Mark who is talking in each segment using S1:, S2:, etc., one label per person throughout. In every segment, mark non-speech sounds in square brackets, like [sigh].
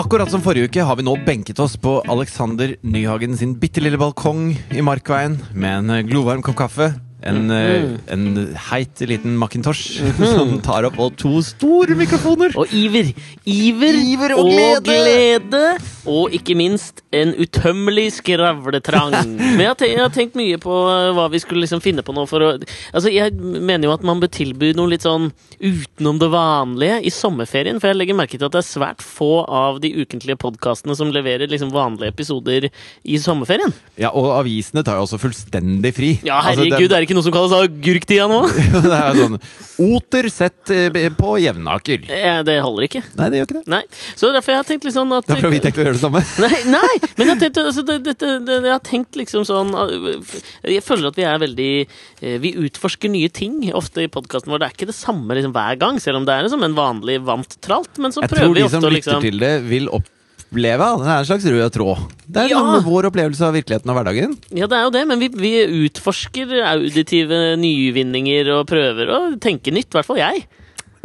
S1: Akkurat som forrige uke har vi nå benket oss på Alexander Nyhagen sin bitte lille balkong i Markveien med en eh, glovarm kopp kaffe.
S2: Mm.
S1: En, eh, en heit liten Macintosh [laughs]
S2: Mm-hmm.
S1: som tar opp og to store mikrofoner.
S2: Og iver. Iver,
S1: Iver og glede.
S2: glede. Og ikke minst en utømmelig
S1: [laughs]
S2: skravletrang. Men jeg har, tenkt, jeg har tenkt mye på eh, hva vi skulle liksom finne på nå for å Altså, jeg mener jo at man bør tilby noe litt sånn utenom det vanlige i sommerferien, for jeg legger merke til at det er svært få av de ukentlige podkastene som leverer liksom vanlige episoder i sommerferien.
S1: Ja, Og avisene tar jo også fullstendig fri.
S2: Ja,
S1: Altså,
S2: herregud, er det ikke noe som kalles agurktida nå?
S1: [laughs] det, det er jo sånn Oter sett eh, på Jevnaker.
S2: Eh, Det holder ikke.
S1: Nei, det gjør ikke det.
S2: Nei. Så derfor har jeg tenkt litt sånn at
S1: Da får vi tenkt å gjøre det samme.
S2: Nei, nei, men jeg, tenkte, altså, det, det, det, det, jeg har tenkt liksom sånn eh, Jeg føler at vi er veldig eh, Vi utforsker nye ting ofte i podkasten vår. Det er ikke det samme liksom, hver gang, selv om det er liksom, en vanlig vant tralt. Men så
S1: Jeg
S2: prøver
S1: tror
S2: vi
S1: de
S2: ofte
S1: som
S2: å
S1: lytter
S2: liksom
S1: til det, vil oppleve at det er en slags rød tråd. Det er
S2: Ja.
S1: sånn vår opplevelse av virkeligheten og hverdagen.
S2: Ja, det er jo det, men vi, vi utforsker auditive nyvinninger og prøver å tenke nytt. I hvert fall jeg.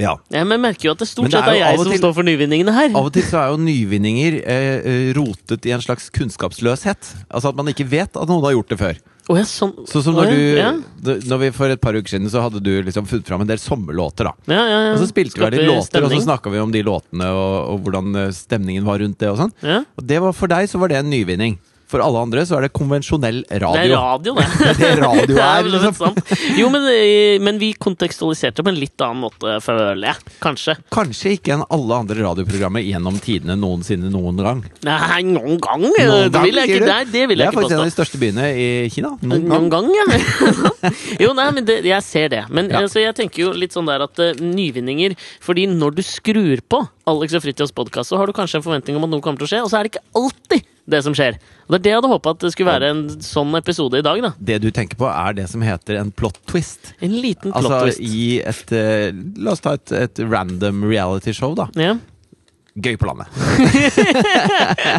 S1: Ja.
S2: Ja, men jeg merker jo at det
S1: Men
S2: stort
S1: det er
S2: sett er
S1: jo av
S2: jeg
S1: og
S2: som
S1: til-
S2: står for nyvinningene her.
S1: Av og til så er jo nyvinninger eh, eh, rotet i en slags kunnskapsløshet. Altså at man ikke vet at noen har gjort det før.
S2: Å, ja, sånn,
S1: Sånn som
S2: Å,
S1: når du,
S2: ja.
S1: d- når vi For et par uker siden så hadde du liksom funnet fram en del sommerlåter. da
S2: Ja, ja, ja.
S1: Og så spilte vi hver
S2: Skaper
S1: din låter, og så
S2: stemning.
S1: snakka vi om de låtene og, og hvordan eh, stemningen var rundt det. Og sånn
S2: ja.
S1: Og det var for deg så var det en nyvinning. For alle andre så er det konvensjonell radio.
S2: Det er radio, det.
S1: [laughs] Det er det radio er.
S2: Det er vel litt
S1: Liksom.
S2: sant. Jo, men, eh, men vi kontekstualiserte på en litt annen måte, føler jeg. Kanskje.
S1: Kanskje ikke enn alle andre radioprogrammer gjennom tidene noensinne noen gang.
S2: Nei, noen gang! eh,
S1: Noen
S2: det
S1: gang,
S2: vil jeg
S1: sier
S2: ikke,
S1: du?
S2: nei, det vil
S1: Det
S2: jeg
S1: er
S2: ikke
S1: faktisk en av
S2: påstå. Mm.
S1: de største byene i Kina. Noen gang.
S2: Noen gang, ja. [laughs] jo, nei, men det, jeg ser det. Men
S1: Ja.
S2: altså, jeg tenker jo litt sånn der at eh, nyvinninger Fordi når du skrur på Alex og Fritjofs podkast, så har du kanskje en forventning om at noe kommer til å skje, og så er det ikke alltid det som skjer. Og det er det jeg hadde håpa at det skulle være en sånn episode i dag, da.
S1: Det du tenker på, er det som heter en plot twist.
S2: En liten plot
S1: Altså
S2: twist.
S1: i et eh, La oss ta et, et random realityshow, da.
S2: Ja.
S1: Gøy på landet.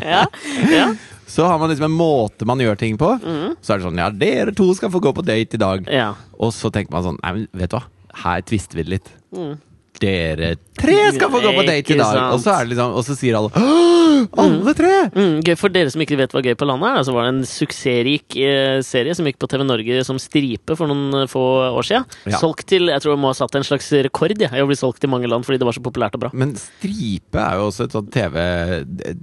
S2: ja.
S1: Så har man liksom en måte man gjør ting på. Så er det sånn Ja, dere to skal få gå på date i dag.
S2: Mm. ja.
S1: Og så tenker man sånn Nei, men vet du hva, her tvister vi det litt. Dere tre skal få gå på date i
S2: Mm. Ikke
S1: dag!
S2: sant.
S1: Og så, er det liksom, og så sier alle «Åh, Alle tre!
S2: Mm, gøy, for dere som ikke vet hva Gøy på landet er, da, så var det en suksessrik eh, serie som gikk på TV Norge som stripe for noen eh, få år siden.
S1: Ja.
S2: Solgt til Jeg tror det må ha satt en slags rekord ja, i å bli solgt til mange land fordi det var så populært og bra.
S1: Men stripe er jo også et sånt TV,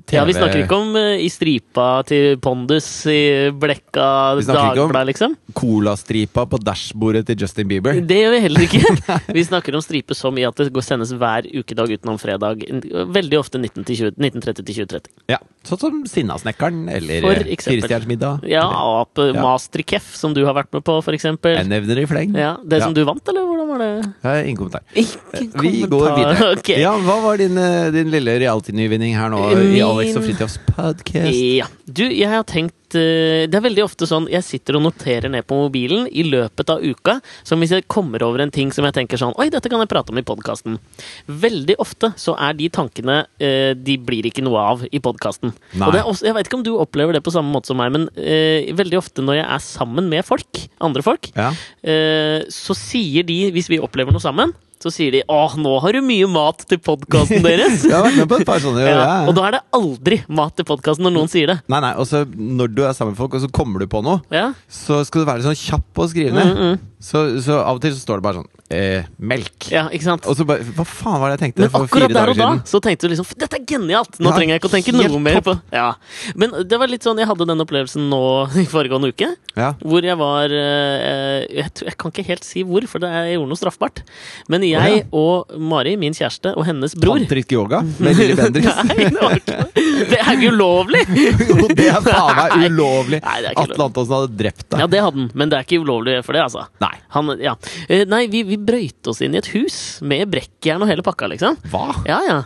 S1: TV
S2: Ja, Vi snakker ikke om eh, i stripa til Pondus, i blekka
S1: Vi snakker ikke om-
S2: Dagbladet, liksom.
S1: Colastripa på dashbordet til Justin Bieber.
S2: Det gjør vi
S1: [laughs]
S2: heller ikke. Vi snakker om stripe så mye at det går sendes hver ukedag utenom fredag. Veldig ofte 19 til 20 19.30 til 20.30.
S1: Ja, Sånn som Sinnasnekkeren eller
S2: For
S1: eh,
S2: eksempel.
S1: Firestjerners middag.
S2: Ja,
S1: eller-
S2: Ape
S1: Ja.
S2: Masterkef, som du har vært med på, for
S1: Jeg
S2: eksempel.
S1: nevner det i fleng.
S2: Ja, det som du vant, eller hvordan var det?
S1: Jeg har ingen kommentar.
S2: Ikke
S1: Vi
S2: kommentar.
S1: går videre.
S2: [laughs] Ok.
S1: Ja, hva var din, eh, din lille reality-nyvinning her nå i
S2: Min-
S1: Alex og Fridtjofs podcast?
S2: Ja. Du, jeg har tenkt eh, Det er veldig ofte sånn jeg sitter og noterer ned på mobilen i løpet av uka. Som hvis jeg kommer over en ting som jeg tenker sånn Oi, dette kan jeg prate om i podkasten. Veldig ofte så er de tankene eh, De blir ikke noe av i podkasten.
S1: Nei.
S2: Og det er også, jeg vet ikke om du opplever det på samme måte som meg, men eh, veldig ofte når jeg er sammen med folk, andre folk,
S1: Ja.
S2: eh, så sier de, hvis vi opplever noe sammen, så sier de 'Å, nå har du mye mat til
S1: [laughs]
S2: podkasten deres'.
S1: Jeg har vært med på et par sånne.
S2: [laughs] Ja,
S1: ja.
S2: og da er det aldri mat til podkasten når noen sier det.
S1: Nei, nei, og så når du er sammen med folk, og så kommer du på noe,
S2: Ja.
S1: så skal du være sånn kjapp på å skrive
S2: Mm,
S1: ned. Så, så av og til så står det bare sånn eh, Melk.
S2: ja, ikke sant?
S1: Og så bare Hva faen var det jeg tenkte
S2: Men
S1: for fire
S2: akkurat der
S1: dager
S2: og da
S1: siden?
S2: så tenkte du liksom "F- Dette er genialt! Nå
S1: Ja,
S2: trenger jeg ikke å tenke
S1: helt
S2: noe mer på ja. Men det var litt sånn jeg hadde den opplevelsen nå i foregående uke.
S1: Ja.
S2: Hvor jeg var eh, jeg, tror- jeg kan ikke helt si hvor, for det er, jeg gjorde noe straffbart. Men jeg og Mari, min kjæreste, og hennes bror
S1: Tantrisk
S2: [laughs]
S1: yoga med Lilly Bendriss.
S2: Nei, det var ikke det. Det er jo ulovlig!
S1: [laughs] Jo, det er faen meg ulovlig!
S2: [laughs] Nei, det er ikke
S1: Atle Antonsen hadde drept deg.
S2: Ja, det hadde den, men det er ikke ulovlig for det, altså.
S1: Nei.
S2: Han, ja. Eh, nei, vi, vi brøyte oss inn i et hus med brekkjern og hele pakka, liksom.
S1: Hva?
S2: Ja, ja.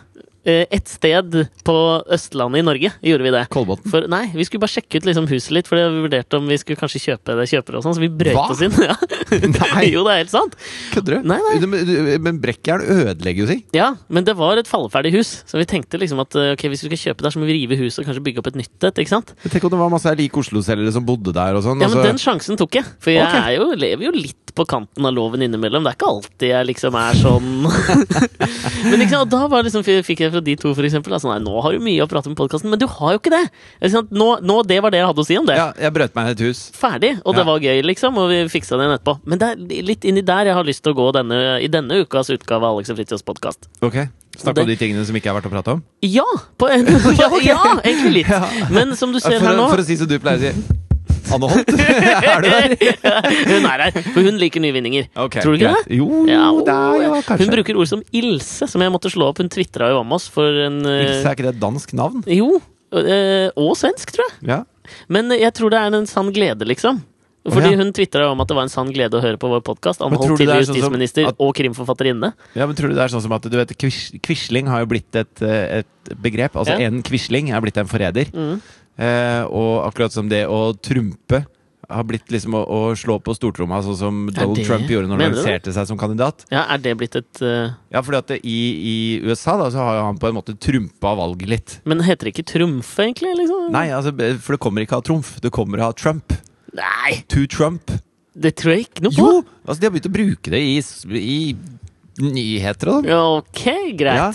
S2: Eh, Et sted på Østlandet i Norge gjorde vi det. [laughs]
S1: Kolbotn?
S2: For, nei, vi skulle bare sjekke ut liksom, huset litt, for vi vurderte om vi skulle kanskje kjøpe det kjøpere og sånn, så vi brøyt
S1: Hva?
S2: oss inn. [laughs] Ja.
S1: Nei.
S2: jo, det er helt sant.
S1: Kødder du?
S2: Nei, nei.
S1: Men- men- Men brekkjern ødelegger jo ting.
S2: Ja, men det var et falleferdig hus, så vi tenkte liksom at eh, ok, hvis vi skal kjøpe der, så må vi rive huset og kanskje bygge opp et nytt et, ikke sant?
S1: Tenk om det var masse lik Oslo-selgere som bodde der og sånn.
S2: Ja,
S1: og
S2: men
S1: så-
S2: den sjansen tok jeg, for jeg
S1: Ok.
S2: er jo, lever jo litt på kanten av loven innimellom. Det er ikke alltid jeg liksom er sånn
S1: [laughs]
S2: Men ikke sant, og da var liksom, f- fikk jeg fra de to, for eksempel. Altså, nei, nå har du mye å prate om i podkasten, men du har jo ikke det! Ikke sant? Nå, nå, det var det jeg hadde å si om det.
S1: Ja, jeg brøt meg inn i et hus.
S2: Ferdig,
S1: Ja.
S2: og det var gøy, liksom, og vi fiksa det igjen etterpå. Men det er litt inni der jeg har lyst til å gå denne, i denne ukas utgave av Alex og Fritjofs podkast.
S1: Ok, Snakk
S2: Det-
S1: om de tingene som ikke er verdt å prate om.
S2: Ja, på en, [laughs] ja, ja, egentlig litt.
S1: Ja.
S2: Men som du ser
S1: For,
S2: her
S1: å-
S2: nå
S1: for å si som du pleier å si. Anne
S2: [laughs]
S1: Holt, [laughs] er du der?
S2: Hun er her, for hun liker nyvinninger.
S1: Ok,
S2: Tror du ikke
S1: greit.
S2: det?
S1: Jo,
S2: Ja, å,
S1: da, Mm, ja,
S2: ja.
S1: kanskje.
S2: hun bruker ord som Ilse, som jeg måtte slå opp. Hun tvitra jo om oss for en eh,
S1: Ilse, er ikke det et dansk navn?
S2: Jo. eh, og svensk, tror jeg.
S1: Ja.
S2: Men eh, jeg tror det er en sann glede, liksom. Fordi
S1: Å, ja.
S2: hun tvitra om at det var en sann glede å høre på vår podkast.
S1: tror
S2: Anholdt
S1: du det
S2: tidligere
S1: er sånn som
S2: justisminister
S1: at-
S2: og krimforfatterinne.
S1: ja, men tror du det er sånn som at du vet, kvis, Quisling har jo blitt et, eh, et begrep. Altså
S2: Ja.
S1: en Quisling er blitt en forræder.
S2: Mm.
S1: Eh, og akkurat som det å trumpe har blitt liksom å, å slå på stortromma, sånn som Donald
S2: det-
S1: Trump gjorde når han
S2: mener du det?
S1: lanserte seg som kandidat.
S2: Ja, er det blitt et eh,
S1: Ja, fordi at det, i, i USA da, så har jo han på en måte trumpa valget litt.
S2: Men heter det ikke trumfe, egentlig? Liksom?
S1: Nei, altså, b- for det kommer ikke av trumf, det kommer av Trump.
S2: Nei,
S1: To Trump.
S2: det tror jeg ikke noe på.
S1: Jo! Altså, de har begynt å bruke det i, s- i nyheter og sånn.
S2: Ja, Ok, greit.
S1: Ja.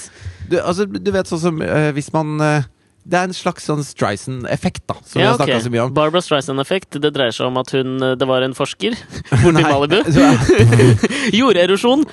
S1: Du, altså, du vet sånn som eh, hvis man eh, Det er en slags sånn Strison-effekt, da, som vi har
S2: ok.
S1: snakka så mye om.
S2: Barbara Streisand-effekt. Det dreier seg om at hun eh, Det var en forsker borte
S1: [laughs]
S2: i
S1: Nei.
S2: Malibu. [laughs]
S1: Så,
S2: Jorderosjon.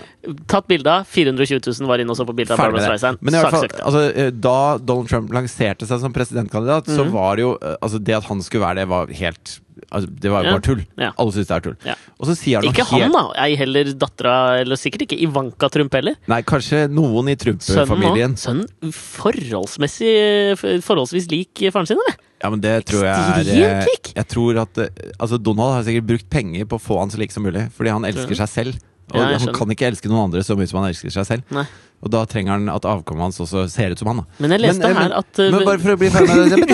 S2: Tatt bilde av. 420 000 var inne og så på bildet av
S1: Ferdig med
S2: Barbara
S1: det.
S2: Streisand.
S1: Men i hvert fall,
S2: Saksøkte.
S1: altså, eh, da Donald Trump lanserte seg som presidentkandidat,
S2: Mhm.
S1: så var det jo eh, altså, Det at han skulle være det, var helt altså, Det var jo
S2: Ja.
S1: bare tull.
S2: Ja.
S1: Alle syns det er tull.
S2: Ja.
S1: Og så sier han noe
S2: Ikke han,
S1: helt
S2: da. Ei heller dattera, eller sikkert ikke Ivanka Trump heller.
S1: Nei, kanskje noen i
S2: Sønnen
S1: Trump-familien.
S2: òg. Sønnen forholdsmessig Forholdsvis lik eh, faren sin, eller?
S1: Ja, men det tror jeg er
S2: Ekstremt
S1: eh,
S2: lik.
S1: Jeg tror at eh, Altså, Donald har sikkert brukt penger på å få han så lik som mulig, fordi han
S2: du?
S1: elsker seg selv. Og
S2: Ja,
S1: han
S2: jeg skjønner.
S1: kan ikke elske noen andre så mye som han elsker seg selv.
S2: Nei.
S1: Og da trenger han at avkommet hans også ser ut som han. Da.
S2: Men jeg leste
S1: eh,
S2: her at eh,
S1: men bare for å bli ferdig med det- men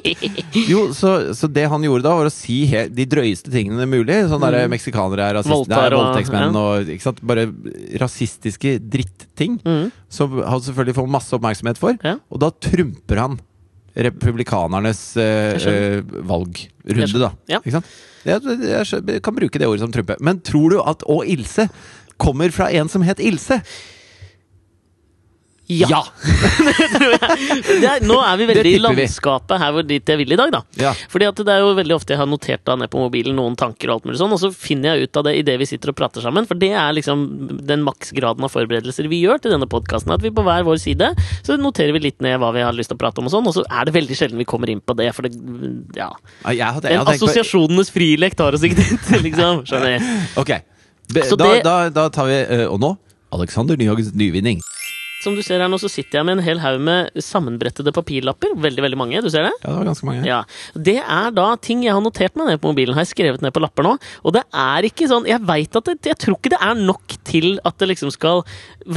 S1: det [laughs] Jo, så, så det han gjorde da, var å si he de drøyeste tingene mulig. Sånn der
S2: Mm.
S1: meksikanere er rasister,
S2: Voldtar
S1: nei,
S2: og-
S1: voldtektsmenn og ikke sant? Bare rasistiske dritting.
S2: [laughs] Mm.
S1: Som han selvfølgelig får masse oppmerksomhet for.
S2: Ja.
S1: Og da trumper han republikanernes eh,
S2: Jeg skjønner.
S1: eh, valgrunde,
S2: Jeg skjønner.
S1: da.
S2: Ja.
S1: Ikke sant? Jeg, jeg, skjø- jeg kan bruke det ordet som trumpe. Men tror du at Å Ilse kommer fra en som het Ilse? [laughs]
S2: Ja! det er, nå er vi
S1: Det
S2: veldig i
S1: tipper vi.
S2: landskapet her hvor dit jeg vil i dag, da.
S1: Ja.
S2: Fordi at det er jo veldig ofte jeg har notert da ned på mobilen noen tanker og alt mulig sånn, og så finner jeg ut av det idet vi sitter og prater sammen, for det er liksom den maksgraden av forberedelser vi gjør til denne podkasten, at vi på hver vår side så noterer vi litt ned hva vi har lyst til å prate om og sånn, og så er det veldig sjelden vi kommer inn på det, for det ja.
S1: Nei, Ah, Jeg hadde, jeg
S2: Den
S1: hadde tenkt på-
S2: assosiasjonenes frilek tar oss ikke dit, [laughs] liksom. Skjønner jeg.
S1: Ok. Be,
S2: Så
S1: da,
S2: det-
S1: da, da tar vi eh, Og nå Alexander Nyhagens nyvinning.
S2: Som du ser her nå, så sitter jeg med en hel haug med sammenbrettede papirlapper. Veldig, veldig mange. Du ser det?
S1: Ja, det var ganske mange.
S2: Ja, Det er da ting jeg har notert meg ned på mobilen. Har jeg skrevet ned på lapper nå. Og det er ikke sånn Jeg vet at det, jeg tror ikke det er nok til at det liksom skal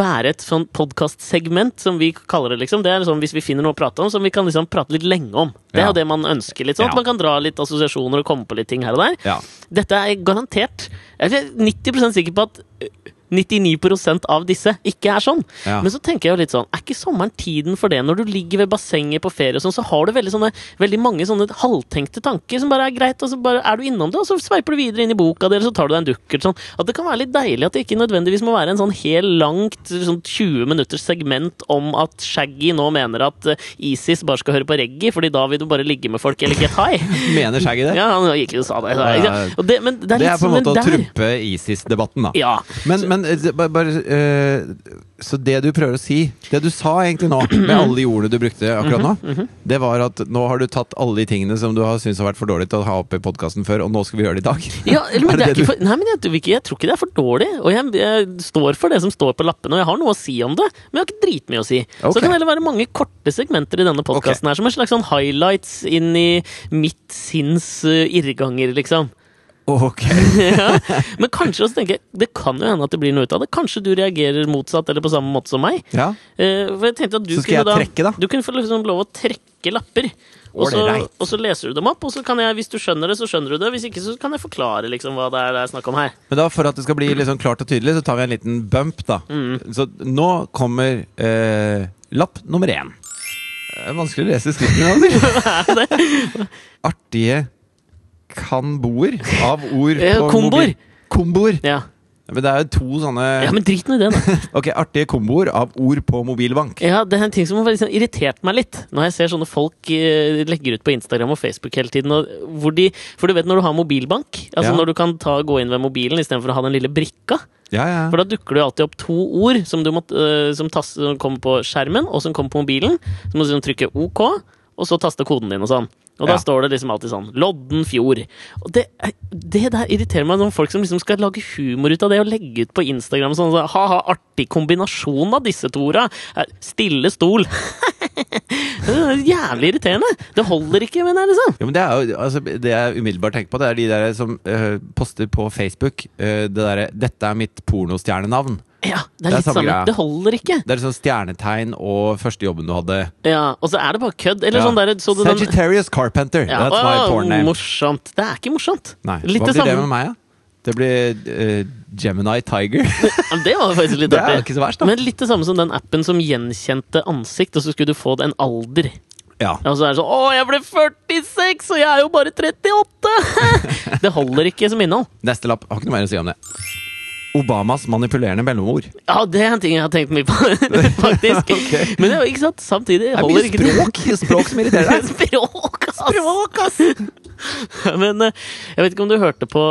S2: være et sånn podkastsegment, som vi kaller det. liksom Det er sånn hvis vi finner noe å prate om, som vi kan liksom prate litt lenge om. Det er
S1: Ja.
S2: jo det man ønsker. litt sånn
S1: Ja.
S2: At man kan dra litt assosiasjoner og komme på litt ting her og der.
S1: Ja.
S2: Dette er garantert Jeg er 90 sikker på at ø, 99 av disse ikke er sånn.
S1: Ja.
S2: Men så tenker jeg jo litt sånn Er ikke sommeren tiden for det? Når du ligger ved bassenget på ferie og sånn, så har du veldig, sånne, veldig mange sånne halvtenkte tanker som bare er greit, og så bare er du innom det, og så sveiper du videre inn i boka di, eller så tar du deg en dukkert sånn. At det kan være litt deilig at det ikke nødvendigvis må være en sånn hel langt sånn 20 minutters segment om at Shaggy nå mener at ø, ISIS bare skal høre på reggae, fordi da vil du bare ligge med folk eller get high.
S1: Mener Shaggy det?
S2: [laughs] Ja, han gikk jo og sa det.
S1: Ja, ja.
S2: Og det, men det er,
S1: det
S2: litt
S1: er på en
S2: som
S1: måte å
S2: den der.
S1: trumpe ISIS-debatten, da.
S2: Ja.
S1: Men, men eh, bare, bare eh, Så det du prøver å si Det du sa egentlig nå, med alle de ordene du brukte akkurat
S2: Mhm,
S1: nå, det var at nå har du tatt alle de tingene som du har syntes har vært for dårlig til å ha opp i podkasten før, og nå skal vi gjøre det i dag.
S2: ja eller, men
S1: Er
S2: det
S1: det
S2: er
S1: det du-
S2: ikke for, nei, men jeg, tror ikke- jeg tror ikke det er for dårlig. Og jeg, jeg står for det som står på lappene, og jeg har noe å si om det. Men jeg har ikke dritmye å si. Så
S1: Ok.
S2: det kan heller være mange korte segmenter i denne podkasten her, som er slags sånn highlights inn i mitt sinns uh, irrganger, liksom.
S1: [laughs]
S2: [laughs]
S1: Ok.
S2: ja. Men kanskje også tenker jeg, det kan jo hende at det blir noe ut av det. Kanskje du reagerer motsatt eller på samme måte som meg.
S1: Ja.
S2: Eh, for jeg tenkte at du
S1: Så skal
S2: kunne
S1: jeg trekke, da?
S2: Du kunne få liksom lov å trekke lapper. Og så,
S1: Ålreit.
S2: og så leser du dem opp, og så kan jeg, hvis du skjønner det, så skjønner du det. Hvis ikke, så kan jeg forklare liksom hva det er det er snakk om her.
S1: Men da, for at det skal bli liksom klart og tydelig, så tar vi en liten bump, da.
S2: Mhm.
S1: Så nå kommer eh, lapp nummer én. Det er vanskelig å lese skriftene.
S2: [laughs]
S1: Altså. Artige kanboer av ord
S2: Eh,
S1: på
S2: komboer.
S1: mobil. Komboer.
S2: Ja.
S1: Men det er jo to sånne
S2: Ja, men drit nå i det, da.
S1: [laughs] Ok, artige komboer av ord på mobilbank.
S2: Ja, det er en ting som har liksom irritert meg litt, når jeg ser sånne folk eh, legger ut på Instagram og Facebook hele tiden. Og hvor de, for du vet når du har mobilbank, altså
S1: Ja.
S2: når du kan ta, gå inn ved mobilen istedenfor å ha den lille brikka,
S1: Ja, ja.
S2: for da dukker det jo alltid opp to ord som, du må, eh, som, tas, som kommer på skjermen og som kommer på mobilen. Så må du liksom trykke OK, og så taste koden din og sånn. Og da
S1: Ja.
S2: står det liksom alltid sånn Loddenfjord. Og det, er- det der irriterer meg, sånn folk som liksom skal lage humor ut av det og legge ut på Instagram sånn så, ha-ha, artig kombinasjon av disse to orda. Er Stille stol. [laughs] det er jævlig irriterende. Det holder ikke, mener jeg, liksom.
S1: Jo, men det er jo altså, Det jeg umiddelbart tenker på, det er de der som eh, poster på Facebook eh, det derre 'Dette er mitt pornostjernenavn'.
S2: Ja, det er litt
S1: samme
S2: samme.
S1: greia.
S2: Det holder ikke.
S1: Det er sånn stjernetegn og første jobben du hadde.
S2: Ja, Og så er det bare kødd. Eller
S1: Ja.
S2: sånn der, så du den-
S1: Sagittarius Carpenter.
S2: Ja.
S1: That's my
S2: Åh,
S1: porn name.
S2: Morsomt. Det er ikke morsomt.
S1: Nei.
S2: Litt
S1: Hva
S2: det
S1: blir det
S2: samme.
S1: med meg, da? Det blir eh, Gemini Tiger.
S2: Ja, det var faktisk litt
S1: det er jo
S2: artig.
S1: ikke så verst, da.
S2: Men litt det samme som den appen som gjenkjente ansikt, og så skulle du få en alder.
S1: [laughs] ja.
S2: Og så er det sånn Å, jeg ble 46, og jeg er jo bare 38! [laughs] det holder ikke som innhold.
S1: Neste lapp. Har ikke noe mer å si om det. Obamas manipulerende mellomord.
S2: Ja, det er en ting jeg har tenkt mye på, [laughs] faktisk.
S1: [laughs] Ok.
S2: Men det er jo ikke sant, samtidig
S1: Det er
S2: holder
S1: mye
S2: ikke det.
S1: språk, språk som irriterer deg.
S2: [laughs] Språk, ass!
S1: Språk, ass!
S2: [laughs] Men eh, jeg vet ikke om du hørte på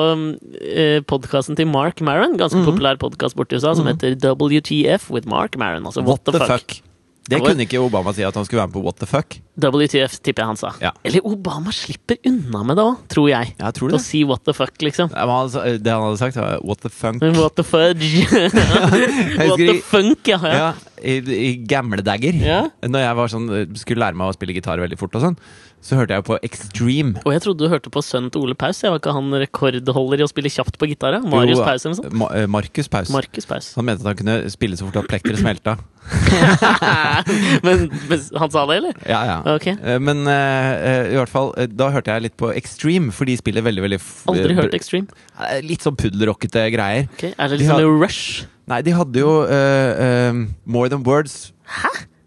S2: eh, podkasten til Mark Maron, ganske
S1: Mhm.
S2: populær podkast borti USA, som heter WTF with Mark Maron. Altså What, the, fuck.
S1: Det kunne ikke Obama si at han skulle være med på What the fuck.
S2: WTF, tipper jeg han sa.
S1: Ja.
S2: Eller Obama slipper unna med det òg, tror jeg.
S1: Ja, tror du
S2: Å
S1: det?
S2: si what the fuck, liksom.
S1: Ja, men han sa- Det han hadde sagt, var what the funk.
S2: Men What the
S1: [laughs]
S2: fudge. [laughs] what the
S1: ikke-
S2: funk, ja. ja.
S1: Ja, i, i gamle dager.
S2: Ja.
S1: Når jeg var sånn, skulle lære meg å spille gitar veldig fort, og sånn så hørte jeg på Extreme.
S2: Og jeg trodde du hørte på sønnen til Ole Paus. Jeg var ikke han rekordholder i å spille kjapt på gitar? ja? Marius
S1: Jo,
S2: Paus eller noe sånt?
S1: Ma eh, Markus Paus.
S2: Markus Paus. [laughs]
S1: han mente at han kunne spille så fort at
S2: [clears throat]
S1: plekteret smelta.
S2: men, men han sa det, eller?
S1: Ja, ja.
S2: Ok.
S1: Eh, Men eh, eh, i hvert fall, eh, da hørte jeg litt på Extreme, for de spiller veldig, veldig f-
S2: Aldri
S1: eh,
S2: hørt
S1: br-
S2: Extreme.
S1: eh, Litt sånn puddelrockete greier.
S2: Ok, Er
S1: De
S2: det liksom
S1: har-
S2: en Rush?
S1: Nei, de hadde jo eh, eh, More Than Words.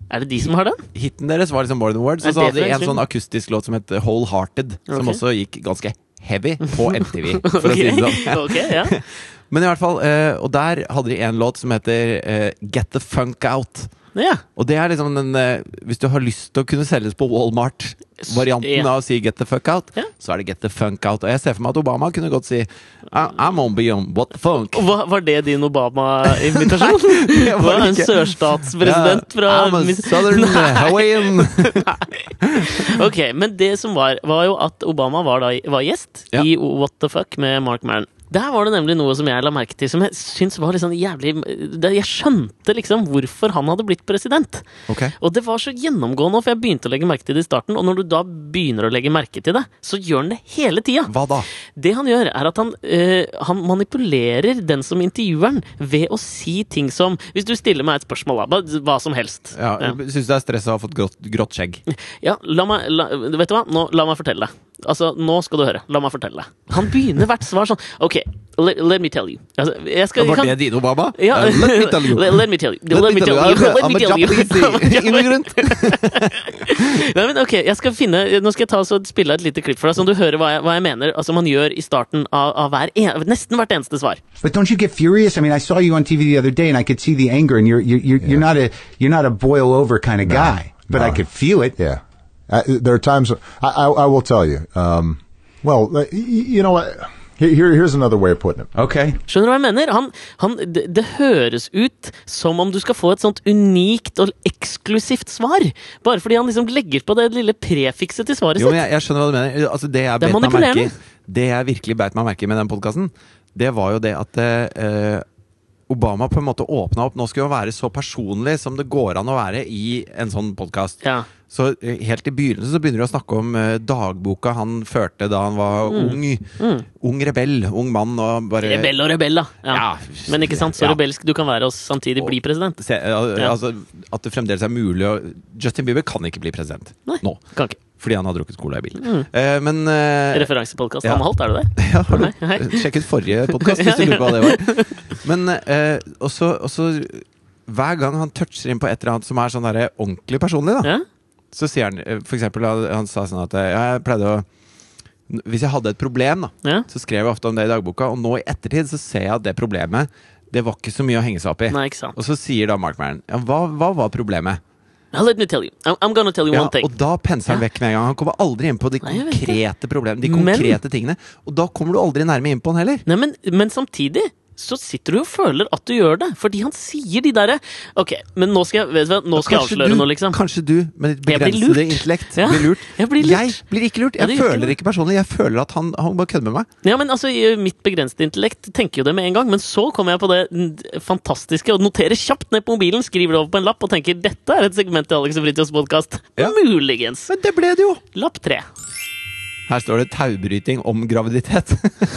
S2: Er det de som har den?
S1: Hiten deres var liksom More Than Words,
S2: Er
S1: og så
S2: det
S1: hadde de
S2: fra
S1: en
S2: Extreme?
S1: sånn akustisk låt som het Wholehearted, som
S2: Ok.
S1: også gikk ganske heavy
S2: [laughs]
S1: på MTV, [laughs] for å
S2: Ok,
S1: si det sånn.
S2: [laughs] ok, ja.
S1: Men i hvert fall, eh, og der hadde de en låt som heter eh, Get the Funk Out.
S2: ja.
S1: Og det er liksom den eh, Hvis du har lyst til å kunne selges på Walmart, varianten
S2: Ja.
S1: av å si Get the Fuck Out,
S2: Ja.
S1: så er det Get the Funk Out. Og jeg ser for meg at Obama kunne godt si "I- I'm on beyond what the funk. [laughs]
S2: Og Hva, var det din Obama-invitasjon?
S1: Det
S2: Du
S1: var
S2: er
S1: det
S2: en
S1: ikke.
S2: sørstatspresident fra
S1: Ja, I'm a
S2: [laughs]
S1: southern Hawaiian.
S2: Ok, men det som var, var jo at Obama var, da, var gjest
S1: Ja.
S2: i What the Fuck med Mark Maron. Der var det nemlig noe som jeg la merke til som jeg syns var litt sånn jævlig det- Jeg skjønte liksom hvorfor han hadde blitt president.
S1: Ok.
S2: Og det var så gjennomgående, for jeg begynte å legge merke til det i starten. Og når du da begynner å legge merke til det, så gjør han det hele tida.
S1: Hva da?
S2: Det han gjør, er at han, eh, han manipulerer den som intervjuer han, ved å si ting som Hvis du stiller meg et spørsmål, da, hva- hva som helst.
S1: Ja,
S2: Ja.
S1: Syns du det er stress å ha fått grått, grått skjegg?
S2: Ja, la meg, la, vet du hva? Nå, la meg fortelle deg. Altså, nå skal du høre. La meg fortelle deg. Han begynner hvert svar sånn. Ok, let, let me tell you. Altså, jeg skal,
S1: Var
S2: jeg kan,
S1: det din Obama?
S2: ja,
S1: Eh, Let me tell you.
S2: [laughs] Let, let me tell you.
S1: Let me tell you.
S2: Let
S1: I'm
S2: me
S1: a
S2: [laughs] tell you.
S1: Japanese [laughs] immigrant.
S2: Nei, men ok, jeg skal finne Nå skal jeg ta og spille av et lite klipp for deg, sånn du hører hva jeg, hva jeg mener. Altså, man gjør i starten av, av hver en, nesten hvert eneste svar.
S3: But don't you get furious? I mean, I saw you on TV the other day, and I could see the anger, and you're you're you're, you're not a you're not a boil over kind of guy, but I
S4: no.
S3: could feel it.
S4: Yeah, I, there are times I, I, I will tell you. Um, well, y- y- you know what? Here, here- here's another way of putting it.
S3: Okay.
S2: Skjønner du hva jeg mener? Han, han, det, det høres ut som om du skal få et sånt unikt og eksklusivt svar. Bare fordi han liksom legger på det lille prefikset til svaret
S1: Jo, men
S2: sitt.
S1: jeg, jeg skjønner hva du mener. Altså, det, jeg
S2: Det er
S1: beit meg merke,
S2: manipulerende.
S1: i- det jeg virkelig beit meg merke i med den podkasten, det var jo det at eh, Obama på en måte åpna opp. Nå skulle han være så personlig som det går an å være i en sånn podkast.
S2: Ja.
S1: Så eh, helt i begynnelsen så begynner de å snakke om eh, dagboka han førte da han var ung. Ung rebell, ung mann og bare
S2: Mm. Rebell og rebell, da. Ja.
S1: Ja.
S2: Men ikke sant, så
S1: Ja.
S2: rebelsk du kan være og samtidig bli president.
S1: Se, eh,
S2: Ja.
S1: altså, at det fremdeles er mulig å Justin Bieber kan ikke bli president
S2: Nei. Mm.
S1: nå.
S2: Kan ikke.
S1: Fordi han har drukket cola i bilen. Eh, men eh,
S2: Referansepodkast
S1: Ja.
S2: han har holdt, er det det?
S1: [laughs] Ja, har
S2: Nei, nei.
S1: du sjekket forrige
S2: [laughs]
S1: podkast hvis du lurer på hva det var? Men eh, også, også hver gang han toucher inn på et eller annet som er sånn der ordentlig personlig, da,
S2: Ja?
S1: så sier han eh, for eksempel han, han sa sånn at eh, ja, jeg pleide å n- Hvis jeg hadde et problem, da,
S2: Ja.
S1: så skrev jeg ofte om det i dagboka. Og nå i ettertid så ser jeg at det problemet Det var ikke så mye å henge seg opp i.
S2: Nei, ikke sant.
S1: Og så sier da Mark Maron ja, hva, hva var problemet?
S2: Now let me tell you. I'm, I'm gonna tell you
S1: Ja,
S2: one thing.
S1: og da penser han vekk med en gang. Han kommer aldri inn på de
S2: Nei, jeg vet
S1: konkrete problemene. De
S2: Men-
S1: konkrete tingene Og da kommer du aldri nærme inn på han heller.
S2: Nei, men, men samtidig så sitter du og føler at du gjør det, fordi han sier de derre Ok, men nå skal jeg, vet du hva, nå skal jeg
S1: Kanskje
S2: avsløre
S1: du-
S2: noe, liksom.
S1: Kanskje du med ditt
S2: Jeg blir
S1: begrensede
S2: lurt.
S1: intellekt
S2: Ja,
S1: blir lurt.
S2: jeg blir lurt.
S1: Jeg blir ikke lurt.
S2: Ja,
S1: Jeg
S2: du gjør ikke
S1: føler
S2: det.
S1: ikke personlig. Jeg føler at han, han bare kødder med meg.
S2: Ja, men altså, i Mitt begrensede intellekt tenker jo det med en gang, men så kommer jeg på det mm, fantastiske og noterer kjapt ned på mobilen, skriver det over på en lapp og tenker dette er et segment i Alex og Fridtjofs podkast.
S1: Ja.
S2: Muligens.
S1: Men det ble det jo!
S2: Lapp tre.
S1: Her står det taubryting om graviditet.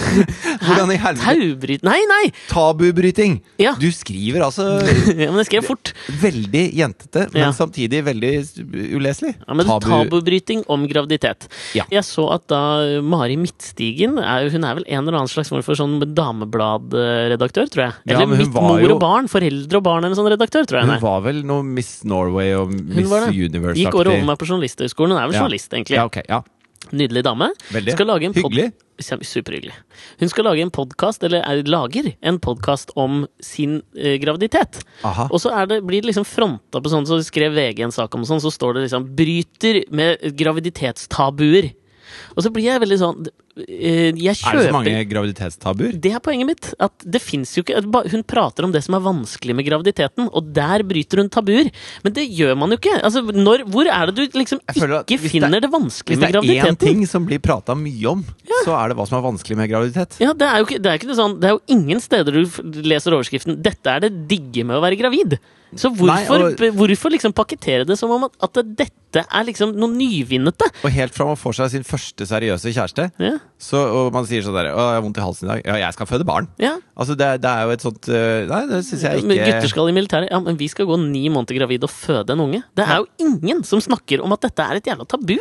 S1: [laughs] Hvordan i helvete?
S2: Taubryt... Nei, nei! [laughs]
S1: Tabubryting!
S2: Ja.
S1: Du skriver altså
S2: [laughs] ja, men det skrev jeg fort.
S1: veldig jentete, men
S2: Ja.
S1: samtidig veldig s- uleselig.
S2: Ja, men Tabubryting om graviditet.
S1: Ja.
S2: Jeg så at da uh, Mari Midtstigen er, Hun er vel en eller annen slags form for sånn damebladredaktør, tror jeg.
S1: Ja,
S2: Eller
S1: men hun
S2: Mitt
S1: var
S2: mor
S1: jo-
S2: og barn. Foreldre og barn eller en sånn redaktør, tror jeg.
S1: Hun
S2: Hun,
S1: var vel noe Miss Norway og
S2: hun
S1: Miss
S2: var det.
S1: Universe-aktig.
S2: Gikk året over meg på Journalisthøgskolen. Hun er vel
S1: Ja.
S2: journalist, egentlig.
S1: Ja, ok, ja.
S2: Nydelig dame.
S1: Veldig.
S2: Skal lage en pod-
S1: Hyggelig.
S2: Kjem- Superhyggelig. Hun skal lage en podkast, eller er, lager en podkast om sin eh, graviditet.
S1: Aha.
S2: Og så er det, blir det liksom fronta på sånn, så skrev VG en sak om sånn, så står det liksom 'bryter med graviditetstabuer'. Og så blir jeg veldig sånn eh, Jeg
S1: Er det så mange
S2: kjøper
S1: graviditetstabuer?
S2: det er poenget mitt. At det finnes jo ikke at ba- Hun prater om det som er vanskelig med graviditeten, og der bryter hun tabuer. Men det gjør man jo ikke. Altså, når, hvor er det du liksom
S1: Jeg føler at
S2: ikke
S1: hvis det er-
S2: finner det vanskelige
S1: Hvis det
S2: med
S1: er én
S2: graviditeten?
S1: ting som blir prata mye om, så er det hva som er vanskelig med graviditet.
S2: Ja, det er jo ikke, det er ikke noe sånn, det er jo ingen steder du f- leser overskriften 'Dette er det digge med å være gravid'. Så hvorfor,
S1: Nei, og-
S2: b- hvorfor liksom pakkettere det som om at, at dette er liksom noe nyvinnete?
S1: Og helt fra man får seg sin første seriøse kjæreste,
S2: Ja,
S1: så, og man sier sånn der 'Å, jeg har vondt i halsen i dag'. Ja, jeg skal føde barn.
S2: ja.
S1: Altså, det, det er jo et sånt øh, Nei, det syns jeg
S2: Men Gutter
S1: ikke
S2: skal i militæret. Ja, men vi skal gå ni måneder gravid og føde en unge. Det er jo ingen som snakker om at dette er et jævla tabu!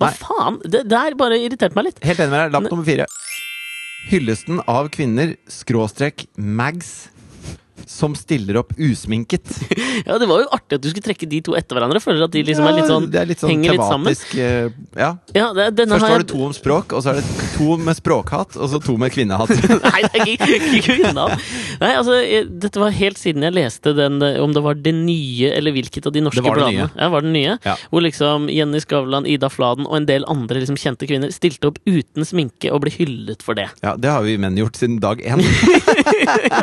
S2: Hva
S1: Nei.
S2: faen? Det der bare irriterte meg litt.
S1: Helt enig med deg. Lapp nummer fire. Hyllesten av kvinner, skråstrek mags, som stiller opp usminket.
S2: Ja, Det var jo artig at du skulle trekke de to etter hverandre. Jeg Føler at de liksom er litt sånn,
S1: Ja, det er litt sånn
S2: henger litt sammen.
S1: tematisk øh, Ja.
S2: Ja, det,
S1: Først
S2: denne har
S1: var
S2: jeg-
S1: det to om språk, og så er det to med språkhatt, og så to med kvinnehatt.
S2: [laughs] Nei, det er ikke, ikke unna. Nei, altså, jeg, dette var helt siden jeg leste den, eh, om det var det nye, eller hvilket av de norske
S1: Det var det
S2: bladene. Ja, var det nye.
S1: Ja.
S2: Hvor liksom Jenny Skavlan, Ida Fladen og en del andre liksom, kjente kvinner stilte opp uten sminke og ble
S1: [laughs]
S2: hyllet for det.
S1: Ja, det har vi menn gjort siden dag én.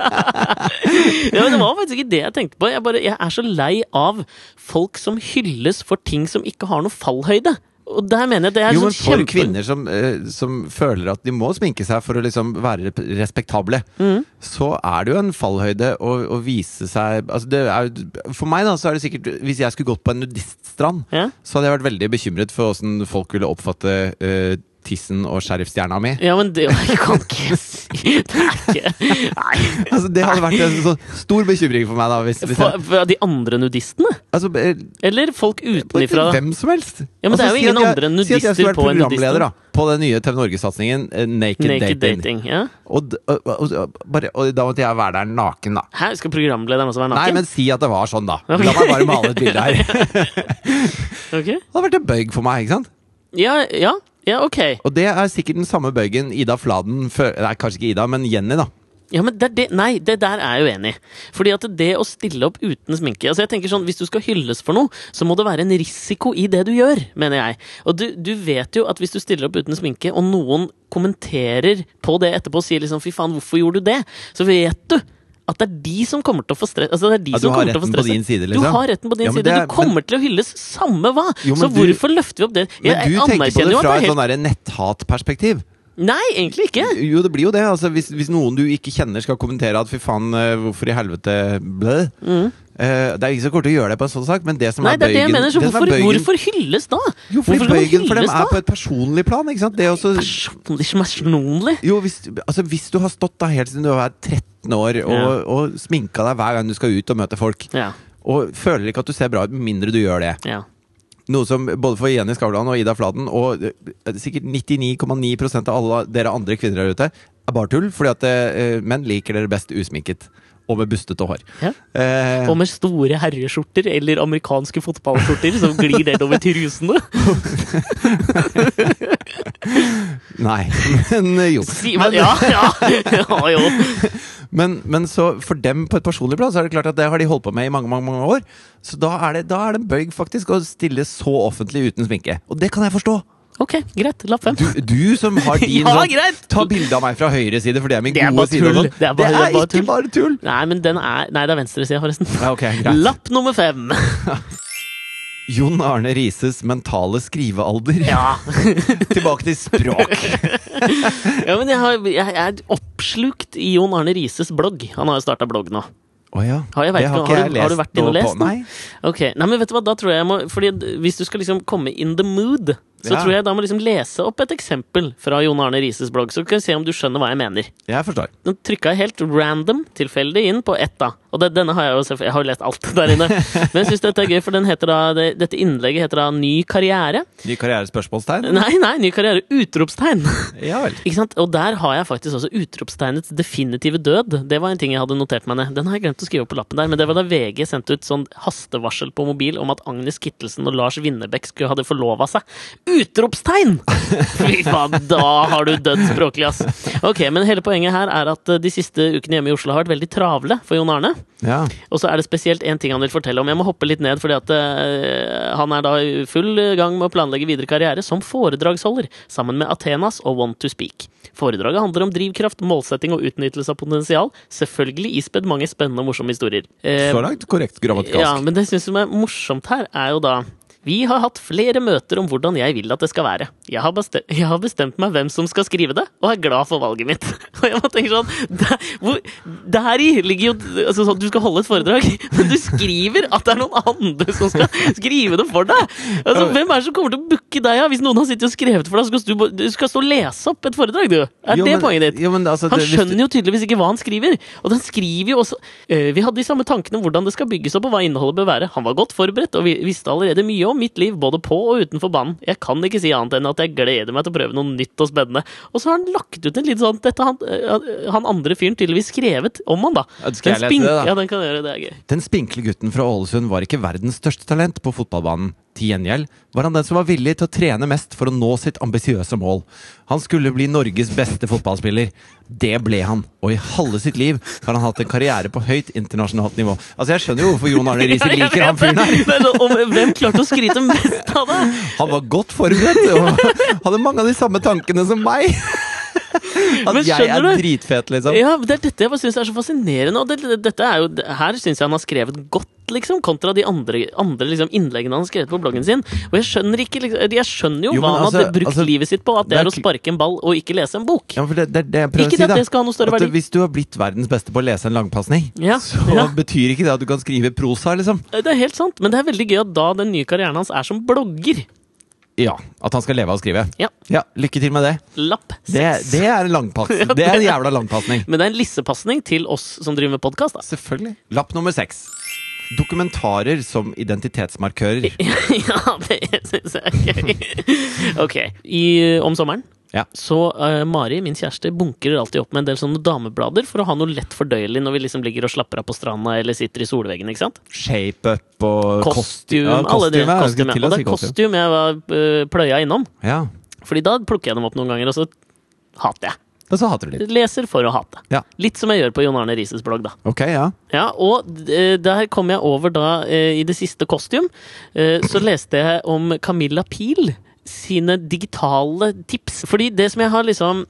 S2: Ja, men det var faktisk ikke det jeg tenkte på. Jeg, bare, jeg er så lei av folk som hylles for ting som ikke har noe fallhøyde. Og der mener jeg det er
S1: Jo, men
S2: sånn
S1: for
S2: kjempe...
S1: kvinner som, eh, som føler at de må sminke seg for å liksom være rep- respektable,
S2: Mm.
S1: så er det jo en fallhøyde å, å vise seg altså det er, jo- For meg, da, så er det sikkert Hvis jeg skulle gått på en nudiststrand,
S2: Ja.
S1: så hadde jeg vært veldig bekymret for åssen folk ville oppfatte eh, tissen og sheriffstjerna mi.
S2: Ja, men det [laughs] jeg kan ikke si Det er ikke Nei.
S1: Altså, det hadde vært en sånn stor bekymring for meg, da. Hvis, hvis
S2: For,
S1: jeg,
S2: for de andre nudistene?
S1: altså, eh,
S2: Eller folk utenifra? da?
S1: Hvem som helst. Altså,
S2: Ja, men det er jo
S1: si
S2: ingen
S1: at jeg-
S2: andre enn
S1: si at jeg
S2: nudister
S1: skulle vært
S2: på en
S1: programleder, da, På den nye TV Norge-satsingen eh, Naked,
S2: Naked
S1: Dating.
S2: dating. ja.
S1: Og, d- og, og, og, bare, og da måtte jeg være der naken, da.
S2: Hæ, skal programlederen også være
S1: Nei,
S2: naken?
S1: men si at det var sånn, da. La meg bare male et
S2: [laughs]
S1: bilde her. Det
S2: Ok.
S1: hadde vært en bøyg for meg, ikke sant?
S2: Ja, ja, ja, ok.
S1: Og det er sikkert den samme bøygen Ida Fladen fø- Nei, kanskje ikke Ida, men Jenny, da.
S2: Ja, men det, er det, nei, det der er jeg uenig i. Fordi at det å stille opp uten sminke altså jeg tenker sånn, Hvis du skal hylles for noe, så må det være en risiko i det du gjør, mener jeg. Og du, du vet jo at hvis du stiller opp uten sminke, og noen kommenterer på det etterpå og sier liksom 'fy faen, hvorfor gjorde du det', så vet du at det er de som kommer til å få stress. Altså det er de
S1: Ja, du
S2: som
S1: har
S2: kommer til å få
S1: retten på
S2: stress.
S1: din side,
S2: Du
S1: liksom.
S2: har retten på din
S1: Ja, men
S2: side.
S1: det er-
S2: du kommer til å hylles samme hva.
S1: Jo,
S2: så
S1: men du-
S2: hvorfor løfter vi opp det? Jeg,
S1: Men du
S2: jeg
S1: tenker på
S2: anerkjenner
S1: det
S2: jo at
S1: fra et
S2: det er
S1: sånn
S2: helt
S1: derre netthatperspektiv.
S2: Nei, egentlig ikke.
S1: Jo, det blir jo det. Altså, hvis, hvis noen du ikke kjenner skal kommentere at fy faen, eh, hvorfor i helvete ble Eh, Det er ikke så kort å gjøre det på en sånn sak, men det som
S2: Mm. Nei,
S1: er
S2: det er det jeg
S1: bøygen
S2: mener.
S1: det
S2: Så
S1: som er
S2: hvorfor,
S1: bøygen-
S2: hvorfor hylles da?
S1: Jo, fordi
S2: hvorfor
S1: bøygen for dem er på et personlig plan, ikke sant? Det er også
S2: Personlig, personlig.
S1: Jo, hvis, altså, hvis du har stått da helt siden du var 13 år og,
S2: Ja.
S1: og sminka deg hver gang du skal ut og møte folk,
S2: Ja,
S1: og føler ikke at du ser bra ut med mindre du gjør det
S2: ja.
S1: Noe som både for Jenny Skavlan og Ida Fladen og eh, sikkert 99,9 av alle dere andre kvinner der ute er bare tull, fordi at eh, menn liker dere best usminket. Og med bustete hår.
S2: Ja.
S1: Eh,
S2: Og med store herreskjorter eller amerikanske fotballskjorter som glir nedover til
S1: [laughs]
S2: rusene.
S1: nei, [laughs] men eh, jo.
S2: Si, men, ja, ja, [laughs] ja, jo.
S1: Men, men så for dem på et personlig plan, så er det klart at det har de holdt på med i mange mange, mange år. Så da er, det, da er det en bøyg faktisk å stille så offentlig uten sminke. Og det kan jeg forstå!
S2: Ok, greit. Lapp fem.
S1: Du, du som
S2: [laughs]
S1: har din
S2: Ja,
S1: sånn
S2: greit!
S1: Ta bilde av meg fra høyre side, for det er min
S2: Det er
S1: gode
S2: bare
S1: side. og
S2: tull.
S1: sånn.
S2: Det er
S1: det
S2: bare- det er
S1: er
S2: bare
S1: ikke
S2: tull.
S1: bare tull!
S2: Nei, men den er Nei, det er venstresida, forresten.
S1: Ja, ok, greit.
S2: Lapp nummer fem.
S1: Jon Arne Rises mentale skrivealder.
S2: Ja.
S1: [laughs] Tilbake til språk.
S2: [laughs] ja men jeg, har, jeg er oppslukt i Jon Arne Rises blogg. Han har jo starta blogg nå.
S1: Å ja.
S2: Har jeg vært-
S1: det har
S2: har
S1: ikke
S2: du-
S1: jeg lest.
S2: har du vært inne og
S1: noe
S2: lest
S1: på.
S2: den?
S1: Nei.
S2: Ok, nei, men vet du hva, da tror jeg jeg må Fordi d- hvis du skal liksom komme in the mood, så
S1: Ja.
S2: tror jeg da må liksom lese opp et eksempel fra Jon Arne Rises blogg, så kan vi se om du skjønner hva jeg mener.
S1: Jeg forstår.
S2: Nå trykka jeg helt random, tilfeldig, inn på ett, da. Og det, denne har jeg jo selvfø- Jeg har jo lest alt der inne. Men jeg syns dette er gøy, for den heter da, det, dette innlegget heter da Ny karriere.
S1: Ny karrierespørsmålstegn?
S2: Nei, nei, ny karriere! Utropstegn!
S1: Ja vel.
S2: Ikke sant? Og der har jeg faktisk også utropstegnets definitive død. Det var en ting jeg hadde notert meg ned. Den har jeg glemt å skrive opp på lappen der, men det var da VG sendte ut sånn hastevarsel på mobil om at Agnes Kittelsen og Lars Winnebekk skulle hadde forlova seg. Utropstegn! Fy faen, da har du dødd språklig, ass. Ok, men hele poenget her er at eh, de siste ukene hjemme i Oslo har vært veldig travle for Jon Arne.
S1: Ja.
S2: Og så er det spesielt én ting han vil fortelle om. Jeg må hoppe litt ned, fordi at eh, han er da i full gang med å planlegge videre karriere som foredragsholder, sammen med Athenas og Want to Speak. Foredraget handler om drivkraft, målsetting og utnyttelse av potensial. Selvfølgelig ispedd mange spennende og morsomme historier. Eh,
S1: Så langt korrekt grammatikalsk.
S2: ja, men det jeg synes som er morsomt her, er jo da vi har hatt flere møter om hvordan jeg vil at det skal være. Jeg har, beste jeg har bestemt meg hvem som skal skrive det, og er glad for valget mitt. [laughs] Og jeg bare tenker sånn, der, hvor, Deri ligger jo altså sånn, Du skal holde et foredrag, [laughs] men du skriver at det er noen andre som skal skrive det for deg! Altså, Hvem er det som kommer til å booke deg av hvis noen har sittet og skrevet for deg? Så skal du, bare- du skal stå og lese opp et foredrag, du! Er
S1: Jo,
S2: det
S1: men-
S2: poenget ditt?
S1: Jo, men altså,
S2: Han
S1: det- hvis du-
S2: skjønner jo tydeligvis ikke hva han skriver. Og den skriver jo også «Eh, Vi hadde de samme tankene om hvordan det skal bygges opp og hva innholdet bør være. Han var godt forberedt og vi- visste allerede mye om mitt liv, både på og utenfor banen. Jeg kan ikke si annet enn at jeg gleder meg til å prøve noe nytt og spennende. Og så har han lagt ut en litt sånn Dette har han, eh, han andre fyren tydeligvis skrevet om han, da.
S1: Ja, skal jeg
S2: Den
S1: lese det, da?
S2: Ja, den kan jeg gjøre. Det er gøy.
S1: Den spinkle gutten fra Ålesund var ikke verdens største talent på fotballbanen. Til gjengjeld var han den som var villig til å trene mest for å nå sitt ambisiøse mål. Han skulle bli Norges beste fotballspiller. Det ble han, og i halve sitt liv har han hatt en karriere på høyt internasjonalt nivå. Altså, jeg skjønner jo hvorfor Jon Arne Riise
S2: [laughs] Ja, jeg
S1: liker han
S2: vet
S1: fyren her.
S2: det. Men om- Hvem klarte å skryte mest av det?
S1: Han var godt forberedt og hadde mange av de samme tankene som meg. At
S2: Men
S1: jeg er
S2: skjønner du?
S1: dritfet, liksom.
S2: Ja, men det er dette jeg bare synes er så fascinerende. Og det, det- dette er jo, det- her syns jeg han har skrevet godt, liksom, kontra de andre, andre liksom, innleggene han har skrevet på bloggen sin. Og jeg skjønner, ikke, liksom, jeg skjønner jo,
S1: Jo, men
S2: hva han
S1: altså-
S2: hadde brukt
S1: altså,
S2: livet sitt på, at det
S1: det
S2: er
S1: er
S2: å
S1: kl-
S2: sparke en ball og ikke lese en bok.
S1: Ja, for det, det, er det jeg prøver å
S2: Ikke
S1: si,
S2: at
S1: da.
S2: det skal ha noe større
S1: At,
S2: verdi.
S1: Hvis du har blitt verdens beste på å lese en langpasning,
S2: Ja,
S1: så
S2: ja.
S1: betyr ikke det at du kan skrive prosa, liksom.
S2: Det er helt sant, men det er veldig gøy at da den nye karrieren hans er som blogger.
S1: Ja, at han skal leve av å skrive.
S2: Ja.
S1: Lykke til med det.
S2: Lapp
S1: Det,
S2: seks.
S1: det er en
S2: [laughs]
S1: langpass. Det er en jævla langpasning.
S2: Men det er en lissepasning til oss som driver med altså. podkast.
S1: Selvfølgelig. Lapp nummer seks. Dokumentarer som identitetsmarkører.
S2: [laughs] [laughs] ja, det syns jeg er gøy. Ok. I, om sommeren
S1: Ja.
S2: Så eh, Mari, min kjæreste, bunker alltid opp med en del sånne dameblader for å ha noe lett fordøyelig når vi liksom ligger og slapper av på stranda eller sitter i solveggen. ikke sant?
S1: Shape-up og
S2: Kostyme,
S1: ja,
S2: alle de
S1: kostyme, jeg skulle til å
S2: kostyme. Og det
S1: si
S2: er kostyme jeg var eh, pløya innom.
S1: Ja.
S2: Fordi da plukker jeg dem opp noen ganger, og så hater jeg.
S1: Og så hater du litt.
S2: Leser for å hate.
S1: Ja.
S2: Litt som jeg gjør på Jon Arne Rises blogg, da.
S1: Ok, ja.
S2: Ja, og eh, der kom jeg over da eh, i det siste kostyme. Eh, så leste jeg om Camilla Pil sine digitale tips. Fordi det som jeg har liksom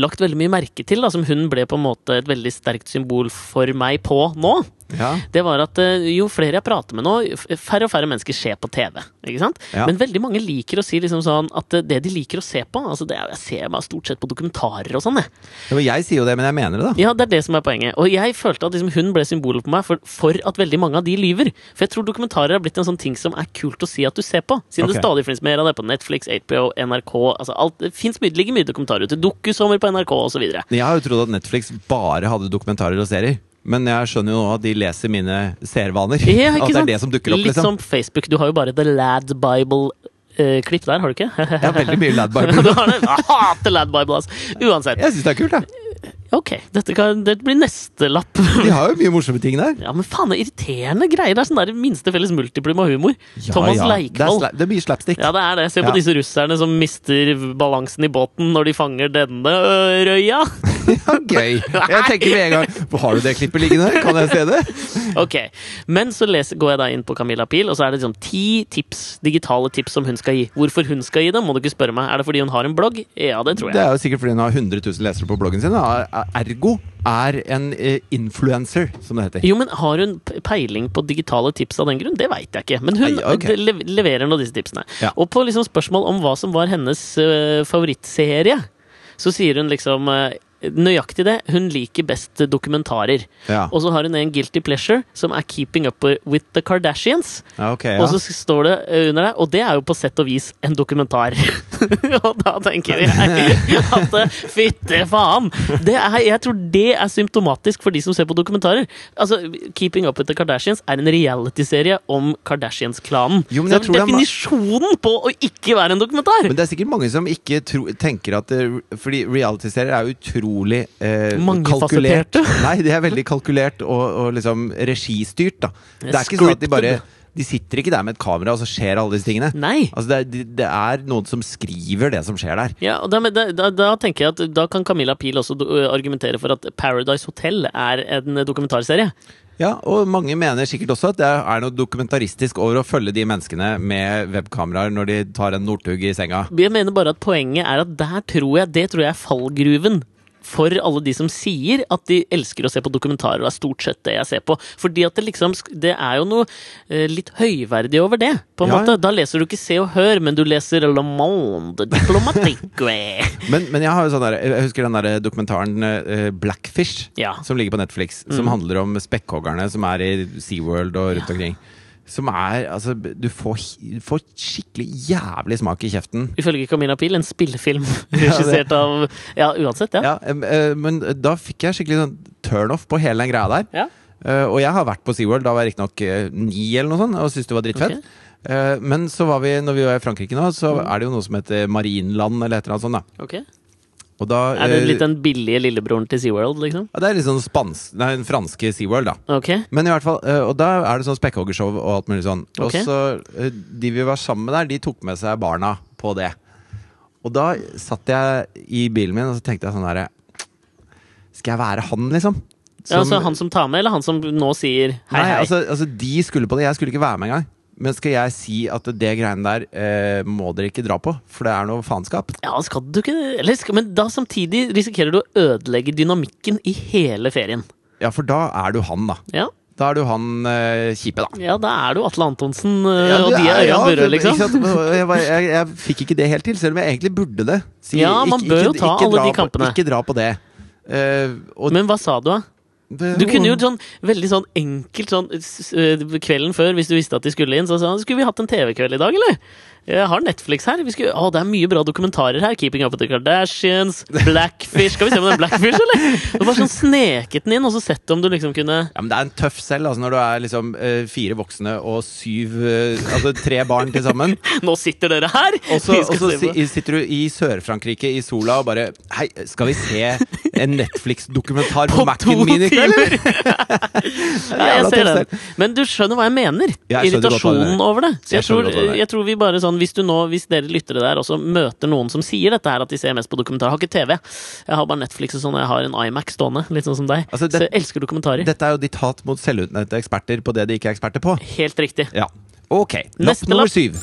S2: lagt veldig mye merke til, da, som hun ble på en måte et veldig sterkt symbol for meg på nå,
S1: ja.
S2: det var at eh, jo flere jeg prater med nå, f- færre og færre mennesker ser på TV. ikke sant?
S1: Ja.
S2: Men veldig mange liker å si liksom sånn at eh, det de liker å se på altså det er, Jeg ser meg stort sett på dokumentarer og sånn, jeg.
S1: Jo, jeg sier jo det, men jeg mener det, da.
S2: Ja, det er det som er poenget. Og jeg følte at liksom, hun ble symbolet på meg for, for at veldig mange av de lyver. For jeg tror dokumentarer har blitt en sånn ting som er kult å si at du ser på. Siden
S1: Ok.
S2: det stadig finnes mer av det på Netflix, HBO, NRK altså alt, Det finnes mye, ligger mye dokumentarer ute. Dokusommer på NRK osv.
S1: Jeg har jo trodd at Netflix bare hadde dokumentarer og serier. Men jeg skjønner jo nå at de leser mine seervaner.
S2: Ja,
S1: at
S2: ikke
S1: det
S2: sant?
S1: er det som dukker opp,
S2: Litt
S1: liksom.
S2: sånn- som Facebook. Du har jo bare The Lad Bible-klipp der, har du ikke? [laughs]
S1: Jeg har veldig mye Lad Bible.
S2: du har det. Jeg hater Lad Bible, altså. Uansett.
S1: Jeg syns det er kult, jeg.
S2: Ok, dette, kan, dette blir neste lapp.
S1: De har jo mye morsomme ting der.
S2: Ja, men faen, det er irriterende greier. Det er sånn der minste felles multiplum av humor.
S1: Det
S2: Thomas
S1: er,
S2: Leikvoll.
S1: sla- det er mye slapstick. [laughs]
S2: Ja, det er det. Se på
S1: Ja.
S2: disse russerne som mister balansen i båten når de fanger denne øh, røya. [laughs]
S1: Gøy. Jeg tenker med en gang Har du det klippet liggende? Kan jeg se det?
S2: Ok, Men så leser, går jeg da inn på Camilla Pil, og så er det liksom ti tips, digitale tips som hun skal gi. Hvorfor hun skal gi dem, må du ikke spørre meg. Er det fordi hun har en blogg? Ja, det tror
S1: Det
S2: jeg.
S1: er jo sikkert fordi hun har 100 000 lesere på bloggen sin. da. Ergo er en eh, influencer, som det heter.
S2: Jo, men Har hun p- peiling på digitale tips av den grunn? Det veit jeg ikke. Men hun
S1: Nei, ok.
S2: de- lev- leverer nå disse tipsene.
S1: Ja.
S2: Og på liksom spørsmål om hva som var hennes øh, favorittserie, så sier hun liksom øh, nøyaktig det. Hun liker best dokumentarer.
S1: Ja.
S2: Og så har hun en guilty pleasure som er Keeping Up With The Kardashians.
S1: Ja, ok, ja.
S2: Og så står det eh, under der, og det er jo på sett og vis en dokumentar. [laughs] og da tenker jeg at eh, fytte faen! Det er, jeg tror det er symptomatisk for de som ser på dokumentarer. Altså, Keeping Up With The Kardashians er en realityserie om Kardashians-klanen.
S1: Jo, men
S2: Så
S1: jeg
S2: det
S1: tror
S2: er
S1: det er ma-
S2: definisjonen på å ikke være en dokumentar!
S1: Men det er sikkert mange som ikke tro, tenker at det, Fordi realityserier er utrolig eh, kalkulert.
S2: Mangefasetterte.
S1: [laughs] Nei, det er veldig kalkulert og, og liksom registyrt, da. Det er ikke sånn at de bare De sitter ikke der med et kamera og så skjer alle disse tingene.
S2: Nei.
S1: Altså det, er, de- det er noen som skriver det som skjer der.
S2: Ja, og da, men da, da, da tenker jeg at da kan Camilla Pil også do- argumentere for at Paradise Hotel er en dokumentarserie.
S1: Ja, Og mange mener sikkert også at det er noe dokumentaristisk over å følge de menneskene med webkameraer når de tar en Northug i senga.
S2: Jeg mener bare at poenget er at der tror jeg, det tror jeg er fallgruven for alle de som sier at de elsker å se på dokumentarer, og er stort sett det jeg ser på. Fordi at det liksom, sk- det er jo noe eh, litt høyverdig over det, på
S1: Ja,
S2: en
S1: ja.
S2: måte. Da leser du ikke Se og Hør, men du leser Le Monde
S1: [laughs]
S2: Diplomatique.
S1: Men, men jeg har jo sånn der, jeg husker den der dokumentaren eh, Blackfish,
S2: Ja. Mm.
S1: som ligger på Netflix. Som handler om spekkhoggerne som er i SeaWorld og rundt omkring. Som er Altså, du får, hi- får skikkelig jævlig smak i kjeften.
S2: Ifølge Camilla Pil, en
S1: [laughs]
S2: spillefilm regissert av Ja, uansett, ja.
S1: Ja, em, eh, men da fikk jeg skikkelig sånn turnoff på hele den greia der.
S2: Ja.
S1: Eh, og jeg har vært på SeaWorld, da var jeg riktignok uh, ni eller noe sånt, og syntes det var drittfett. Eh, men så var vi, når vi var i Frankrike nå, så
S2: Mm.
S1: er det jo noe som heter Marienland eller et eller annet sånt. da.
S2: Ok.
S1: Og da
S2: Er det
S1: eh,
S2: litt den billige lillebroren til SeaWorld, liksom?
S1: ja, det er litt sånn spansk, nei, den franske SeaWorld, da.
S2: Ok.
S1: Men i hvert fall, eh, og da er det sånn spekkhoggershow og alt mulig sånn.
S2: Ok.
S1: Og så eh, de vi var sammen med der, de tok med seg barna på det. Og da satt jeg i bilen min og så tenkte jeg sånn herre Skal jeg være han, liksom?
S2: Ja, altså han som tar med, eller han som nå sier hei,
S1: Nei,
S2: hei?
S1: altså, altså de skulle på det, jeg skulle ikke være med engang. Men skal jeg si at det greiene der eh, må dere ikke dra på, for det er noe faenskap?
S2: Ja, skal du ikke eller skal, Men da samtidig risikerer du å ødelegge dynamikken i hele ferien.
S1: Ja, for da er du han, da.
S2: Ja,
S1: Da er du han eh, kjipe, da.
S2: ja da er du Atle Antonsen øh,
S1: Ja,
S2: og
S1: det
S2: de er
S1: ja,
S2: Ørjan Burøe,
S1: det-
S2: liksom.
S1: ikke sant? Jeg, bare- jeg, jeg fikk ikke det helt til, selv om jeg egentlig burde det. Si,
S2: Ja, man bør jo ta alle
S1: dra
S2: de
S1: på-
S2: kampene.
S1: Ikke dra på det. Eh, og
S2: Men hva sa du, da?
S1: det-
S2: Du kunne jo sånn veldig sånn enkelt sånn s- øh, kvelden før, hvis du visste at de skulle inn, så sa han skulle vi hatt en TV-kveld i dag, eller? Jeg har Netflix her. Vi skulle, å, det er mye bra dokumentarer her. 'Keeping Up With The Kardashians', 'Blackfish'. Skal vi se på den Blackfish, eller? Og bare sånn sneket den inn, og så sett om du liksom kunne
S1: ja, men det er en tøff selv altså, når du er liksom eh, fire voksne og syv eh, Altså tre barn til
S2: [laughs]
S1: sammen.
S2: Nå sitter dere her!
S1: Og så,
S2: vi
S1: og
S2: skal
S1: så
S2: se på-
S1: si, sitter du i Sør-Frankrike i sola og bare Hei, skal vi se en Netflix-dokumentar på,
S2: På
S1: Mac-en
S2: to
S1: min i kveld,
S2: timer.
S1: eller?
S2: [laughs] Ja, jeg
S1: Jævla
S2: ser
S1: tøft
S2: den. Men du skjønner hva jeg mener.
S1: Jeg skjønner godt hva du
S2: Irritasjonen
S1: mener.
S2: over det. Så jeg,
S1: Jeg skjønner
S2: tror,
S1: godt hva du mener.
S2: jeg tror vi bare sånn, hvis, du nå, hvis dere lyttere der også møter noen som sier dette her, at de ser mest på dokumentar Jeg har ikke TV. Jeg har bare Netflix og sånn, og jeg har en iMac stående, litt sånn som deg.
S1: Altså, det-
S2: så jeg elsker dokumentarer.
S1: Dette er jo ditt hat mot selvutnevnte eksperter på det de ikke er eksperter på.
S2: Helt riktig.
S1: Ja. Ok, lapp
S2: Neste
S1: nummer
S2: lapp.
S1: syv.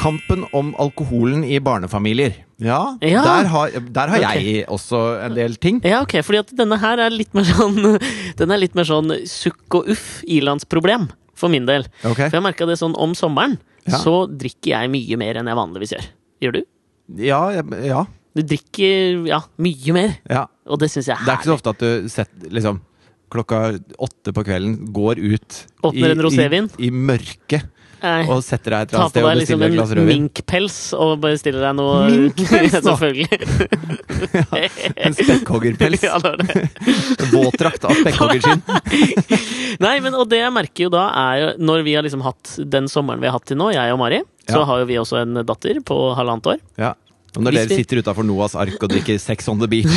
S1: Kampen om alkoholen i barnefamilier. Ja,
S2: Ja.
S1: Der, har, der har jeg også en del ting.
S2: Ja, ok, fordi at denne her er litt mer sånn [laughs] Den er litt mer sånn sukk og uff ilandsproblem for min del.
S1: Ok.
S2: For jeg merka det sånn om sommeren,
S1: Ja.
S2: så drikker jeg mye mer enn jeg vanligvis gjør. Gjør du?
S1: Ja, jeg- ja.
S2: Du drikker ja, mye mer,
S1: ja.
S2: og det syns jeg er
S1: Det er ikke
S2: herlig.
S1: så ofte at du setter liksom klokka åtte på kvelden, går ut
S2: Åpner en rosévin.
S1: i, i mørket
S2: Nei.
S1: og setter deg et eller
S2: Ta
S1: annet
S2: på
S1: sted og
S2: deg liksom
S1: bestiller et glass
S2: en
S1: rødvin.
S2: minkpels og bare stille deg noe [laughs]
S1: Minkpels, da?
S2: Selvfølgelig.
S1: En spekkhoggerpels.
S2: [laughs] ja, det var det.
S1: Våtdrakt av
S2: [laughs]
S1: spekkhoggerskinn.
S2: Nei, men og det jeg merker jo da, er jo når vi har liksom hatt den sommeren vi har hatt til nå, jeg og Mari, så
S1: Ja.
S2: har jo vi også en datter på halvannet år. [laughs]
S1: Ja. Om når
S2: Hvis
S1: dere
S2: vi-
S1: sitter utafor Noahs ark og drikker Sex on the Beach.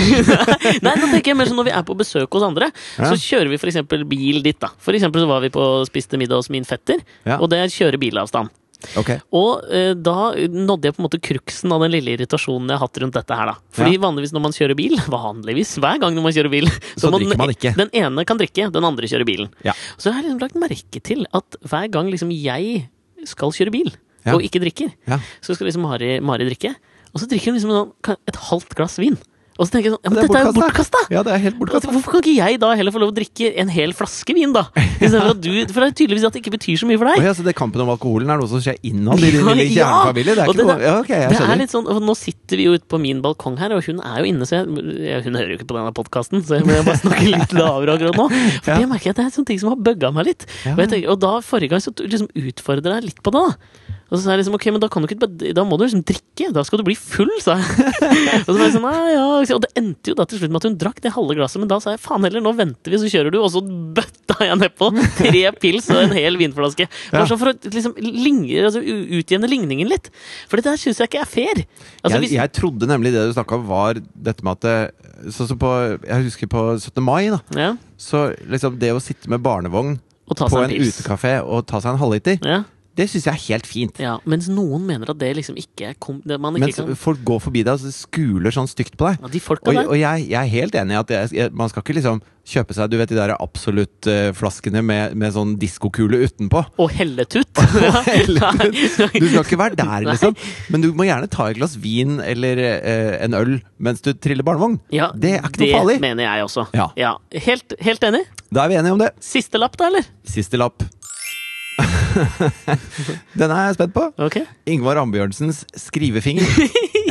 S2: Nei, nå tenker jeg mer sånn når vi er på besøk hos andre, så kjører vi f.eks. bil dit, da. For eksempel så var vi på og spiste middag hos min fetter,
S1: Ja.
S2: og det er kjøre bilavstand.
S1: Ok.
S2: Og eh, da nådde jeg på en måte kruksen av den lille irritasjonen jeg har hatt rundt dette her, da. Fordi
S1: Ja.
S2: vanligvis når man kjører bil, [laughs] vanligvis, hver gang når man kjører bil, [laughs]
S1: Så drikker man ikke.
S2: Den ene kan drikke, den andre kjører bilen.
S1: Ja.
S2: Så jeg har liksom lagt merke til at hver gang liksom jeg skal kjøre bil,
S1: Ja.
S2: og ikke drikker,
S1: Ja.
S2: så skal liksom Mari, Mari drikke, og så drikker hun liksom sånn, ka- et halvt glass vin. Og så tenker jeg sånn, ja, men dette er jo bortkasta!
S1: Ja, det er helt bortkasta.
S2: Altså, hvorfor kan ikke jeg da heller få lov å drikke en hel flaske vin,
S1: [laughs]
S2: da? Istedenfor at du For det er tydeligvis at det ikke betyr så mye for deg.
S1: Å ja, så det kampen om alkoholen er noe som skjer innad i din lille
S2: [laughs] Ja, ja.
S1: kjernefamilie? Det er
S2: Og
S1: ikke
S2: den
S1: noe ja, ok, jeg
S2: det er
S1: skjønner.
S2: litt sånn, og Nå sitter vi jo ute på min balkong her, og hun er jo inne, så jeg, ja, hun hører jo ikke på denne podkasten, så jeg må bare snakke litt lavere akkurat nå.
S1: [laughs]
S2: For
S1: Ja.
S2: det merker jeg at det er sånne ting som har bugga meg litt. Og, jeg tenker, og da forrige gang så liksom utfordra jeg litt på det. da og så sa jeg liksom, ok, men da, kan du ikke, bare- da må du liksom drikke, da skal du bli full, sa jeg. [laughs] og, så var jeg sånn, nei, ja. og det endte jo da til slutt med at hun drakk det halve glasset, men da sa jeg faen heller, nå venter vi, så kjører du. Og så bøtta jeg nedpå tre
S1: [laughs]
S2: pils og en hel vinflaske. Bare sånn for å liksom, ligne, altså, u- utjevne ligningen litt. For det der syns jeg ikke er fair. Altså,
S1: jeg,
S2: hvis,
S1: jeg trodde nemlig det du snakka om, var dette med at det, Sånn som på Jeg husker på 17. mai, da.
S2: ja,
S1: Så liksom det å sitte med barnevogn
S2: og ta
S1: på en
S2: seg en pils.
S1: utekafé og ta seg en halvliter,
S2: Ja,
S1: det syns jeg er helt fint.
S2: ja, mens noen mener at det liksom ikke er kom, det, man ikke
S1: Mens
S2: kan,
S1: folk går forbi deg og så skuler sånn stygt på deg.
S2: ja, De folka
S1: Og,
S2: der.
S1: og jeg, jeg er helt enig i at jeg, jeg, man skal ikke liksom kjøpe seg Du vet de der absolutt-flaskene med, med sånn diskokule utenpå.
S2: Og helletut. [laughs]
S1: helletut. Du skal ikke være der,
S2: Nei.
S1: liksom. Men du må gjerne ta et glass vin eller eh, en øl mens du triller barnevogn.
S2: Ja,
S1: Det er ikke noe farlig.
S2: Det mener jeg også.
S1: Ja.
S2: Helt, helt enig.
S1: Da er vi enige om det.
S2: Siste lapp, da, eller?
S1: Siste
S2: [laughs]
S1: lapp. Den er jeg spent på.
S2: Ok. [laughs]
S1: Ingvar Ambjørnsens skrivefinger.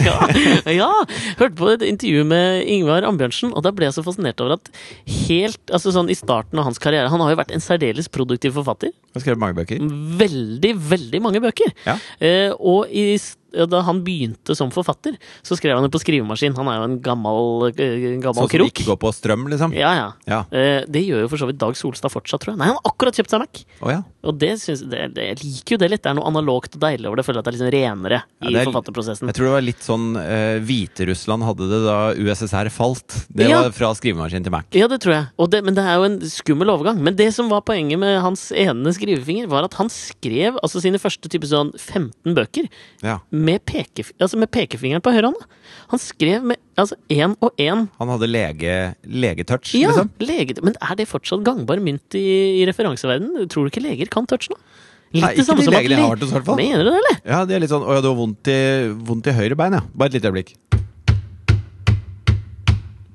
S2: ja, ja. Hørte på et intervju med Ingvar Ambjørnsen, og da ble jeg så fascinert over at helt altså sånn i starten av hans karriere Han har jo vært en særdeles produktiv forfatter.
S1: Har skrevet mange
S2: Mm.
S1: bøker.
S2: Veldig, veldig mange bøker.
S1: Ja.
S2: Eh, og i, s- da han begynte som forfatter, så skrev han det på skrivemaskin. Han er jo en gammel, eh, gammel
S1: Sånn som
S2: krok.
S1: ikke går på strøm, liksom.
S2: Ja, ja.
S1: Ja.
S2: Eh, det gjør jo for så vidt Dag Solstad fortsatt, tror jeg. Nei, han har akkurat kjøpt seg Mac.
S1: Å ja.
S2: Og det syns det, det, Jeg liker jo det litt. Det er noe analogt og deilig over det. Jeg føler at det er liksom renere
S1: Ja,
S2: i
S1: det er-
S2: forfatterprosessen.
S1: Jeg tror det var litt sånn eh, Hviterussland hadde det da USSR falt. Det
S2: Ja.
S1: var fra skrivemaskin til Mac.
S2: Ja, det tror jeg. Og det, men det er jo en skummel overgang. Men det som var poenget med hans ene skrivefinger, var at han skrev altså sine første type sånn 15 bøker
S1: Ja.
S2: med, pekef altså med pekefingeren på høyrehånda. Han skrev med altså én og én.
S1: Han hadde lege, legetouch,
S2: Ja,
S1: liksom.
S2: lege, men er det fortsatt gangbar mynt i, i referanseverdenen? Tror du ikke leger kan touch nå? Litt
S1: Nei,
S2: det
S1: ikke
S2: samme
S1: de
S2: som at
S1: legene jeg
S2: le-
S1: har vært hos, i hvert fall.
S2: Mener du det, eller?
S1: Ja, det er litt sånn Å ja, du har vondt i, vondt i høyre bein, ja. Bare et lite øyeblikk.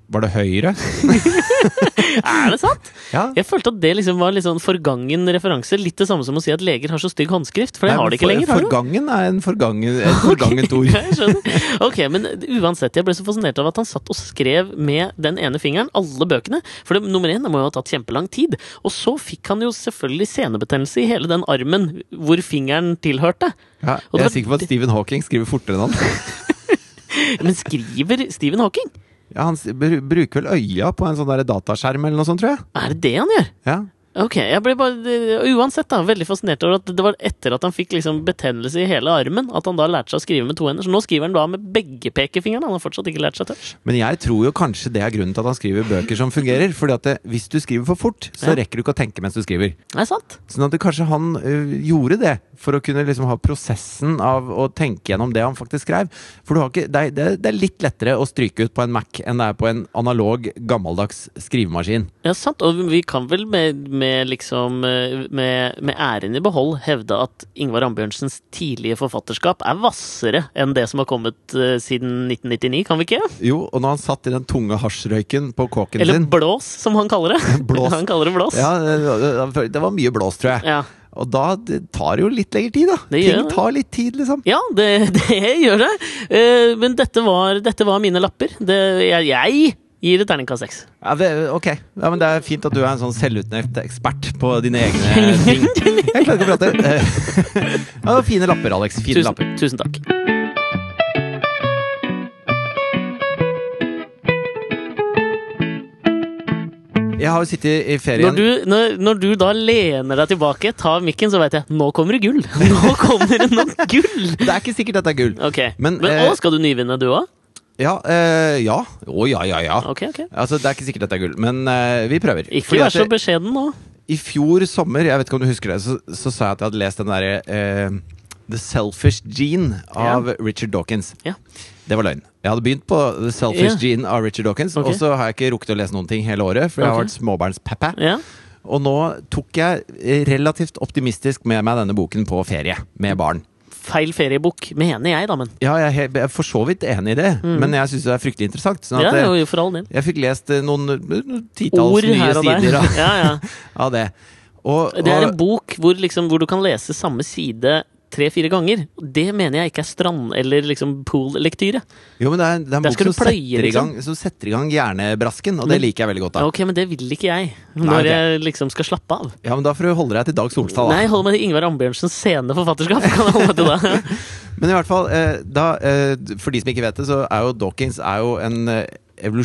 S1: Var det høyre?
S2: Er det sant?
S1: Ja.
S2: Jeg følte at det liksom var litt sånn forgangen referanse. Litt det samme som å si at leger har så stygg håndskrift, for det har de ikke lenger. har de?
S1: Forgangen er en forgangen, et forgangent ord.
S2: [laughs] Ja, jeg skjønner. Ok, men uansett, jeg ble så fascinert av at han satt og skrev med den ene fingeren alle bøkene. For det, nummer én, det må jo ha tatt kjempelang tid. Og så fikk han jo selvfølgelig senebetennelse i hele den armen hvor fingeren tilhørte.
S1: Ja,
S2: Og
S1: jeg
S2: det var
S1: er sikker på at Stephen Hawking skriver fortere enn han.
S2: Men skriver Stephen Hawking?
S1: Ja, han s- br bruker vel øya på en sånn der dataskjerm eller noe sånt, tror jeg.
S2: Er det det han gjør?
S1: Ja.
S2: Ok, jeg ble bare, eh, Uansett, da, veldig fascinert over at det var etter at han fikk liksom betennelse i hele armen, at han da lærte seg å skrive med to hender. Så nå skriver han da med begge pekefingrene. Han har fortsatt ikke lært seg touch.
S1: Men jeg tror jo kanskje det er grunnen til at han skriver bøker som fungerer. Fordi at det, hvis du skriver for fort, så
S2: Ja.
S1: rekker du ikke å tenke mens du skriver.
S2: Er det sant?
S1: Sånn at det, kanskje han ø, gjorde det for å kunne liksom ha prosessen av å tenke gjennom det han faktisk skrev. For du har ikke, det, er- det, er- det er litt lettere å stryke ut på en Mac enn det er på en analog, gammeldags skrivemaskin.
S2: Ja, sant. Og vi kan vel med, med liksom eh, med, med æren i behold hevde at Ingvar Ambjørnsens tidlige forfatterskap er hvassere enn det som har kommet eh, siden 1999, kan vi ikke?
S1: Jo, og når han satt i den tunge hasjrøyken på kåken
S2: Eller
S1: sin
S2: blås, som han kaller det.
S1: [laughs] Blås.
S2: Han kaller det blås.
S1: ja, det- det- Det var mye blås, tror jeg.
S2: Ja.
S1: Og da det tar det jo litt lengre tid, da.
S2: Det gjør
S1: Ting
S2: det.
S1: tar litt tid, liksom.
S2: Ja, det, [laughs] det gjør det. Eh, men dette var, dette var mine lapper. Det, jeg, jeg gir det terningkast seks.
S1: Ja, det, ok, ja, men det er fint at du er en sånn selvutnevnt ekspert på dine
S2: [laughs]
S1: egne ting. Jeg klarer ikke å prate. [laughs] Eh, Ja, det var fine lapper, Alex. Fine lapper.
S2: Tusen, tusen takk.
S1: Jeg har jo sittet i
S2: Når
S1: ferien
S2: du, når, når du da lener deg tilbake, tar mikken, så veit jeg nå kommer det gull! [laughs] Nå kommer det nok gull!
S1: Det er ikke sikkert dette er gull.
S2: Ok, Men,
S1: Men, eh,
S2: å, skal du nyvinne, du òg?
S1: Ja. eh, ja. Å ja, ja, ja.
S2: Ok, ok.
S1: Altså, Det er ikke sikkert dette er gull, men eh, vi prøver.
S2: Ikke
S1: Fordi
S2: vær
S1: at
S2: så
S1: det-
S2: beskjeden nå.
S1: I fjor sommer, jeg vet ikke om du husker det, så, så sa jeg at jeg hadde lest den derre eh, The Selfish Gene av Richard Dawkins.
S2: Ja.
S1: Det var løgn. Jeg hadde begynt på The Selfish
S2: Ja.
S1: Gene av Richard Dawkins,
S2: Ok.
S1: og så har jeg ikke rukket å lese noen ting hele året, for jeg har
S2: Ok.
S1: vært småbarnspappa.
S2: Ja.
S1: Og nå tok jeg eh, relativt optimistisk med meg denne boken på ferie med barn.
S2: Feil feriebukk, mener jeg, da, men.
S1: Ja, jeg er he- jeg er for så vidt enig i det, men jeg syns det er fryktelig interessant. Sånn
S2: Mm. Ja,
S1: at, eh,
S2: jo, for all del.
S1: jeg fikk lest eh, noen, noen titalls
S2: Ord
S1: nye
S2: her og der.
S1: sider av,
S2: Ja,
S1: [laughs]
S2: ja.
S1: av det. Og,
S2: Det er
S1: og-
S2: en bok hvor, liksom, hvor du kan lese samme side tre-fire ganger. Det mener jeg ikke er strand- eller liksom pool-lektyre.
S1: Jo, men det er, det er en
S2: Der
S1: bok
S2: skal
S1: som,
S2: du pløye,
S1: setter i gang,
S2: liksom.
S1: som setter i gang hjernebrasken, og det
S2: Men-
S1: liker jeg veldig godt.
S2: Ja,
S1: da
S2: ok, men det vil ikke jeg. Når
S1: ok.
S2: jeg liksom skal slappe av.
S1: Ja, men Da får du holde deg til Dag Solstad.
S2: Nei,
S1: da
S2: hold meg til Ingvar Ambjørnsens sene forfatterskap. Kan jeg holde meg til det?
S1: [laughs] Men i hvert fall, eh, da, eh, for de som ikke vet det, så er jo Dawkins er jo en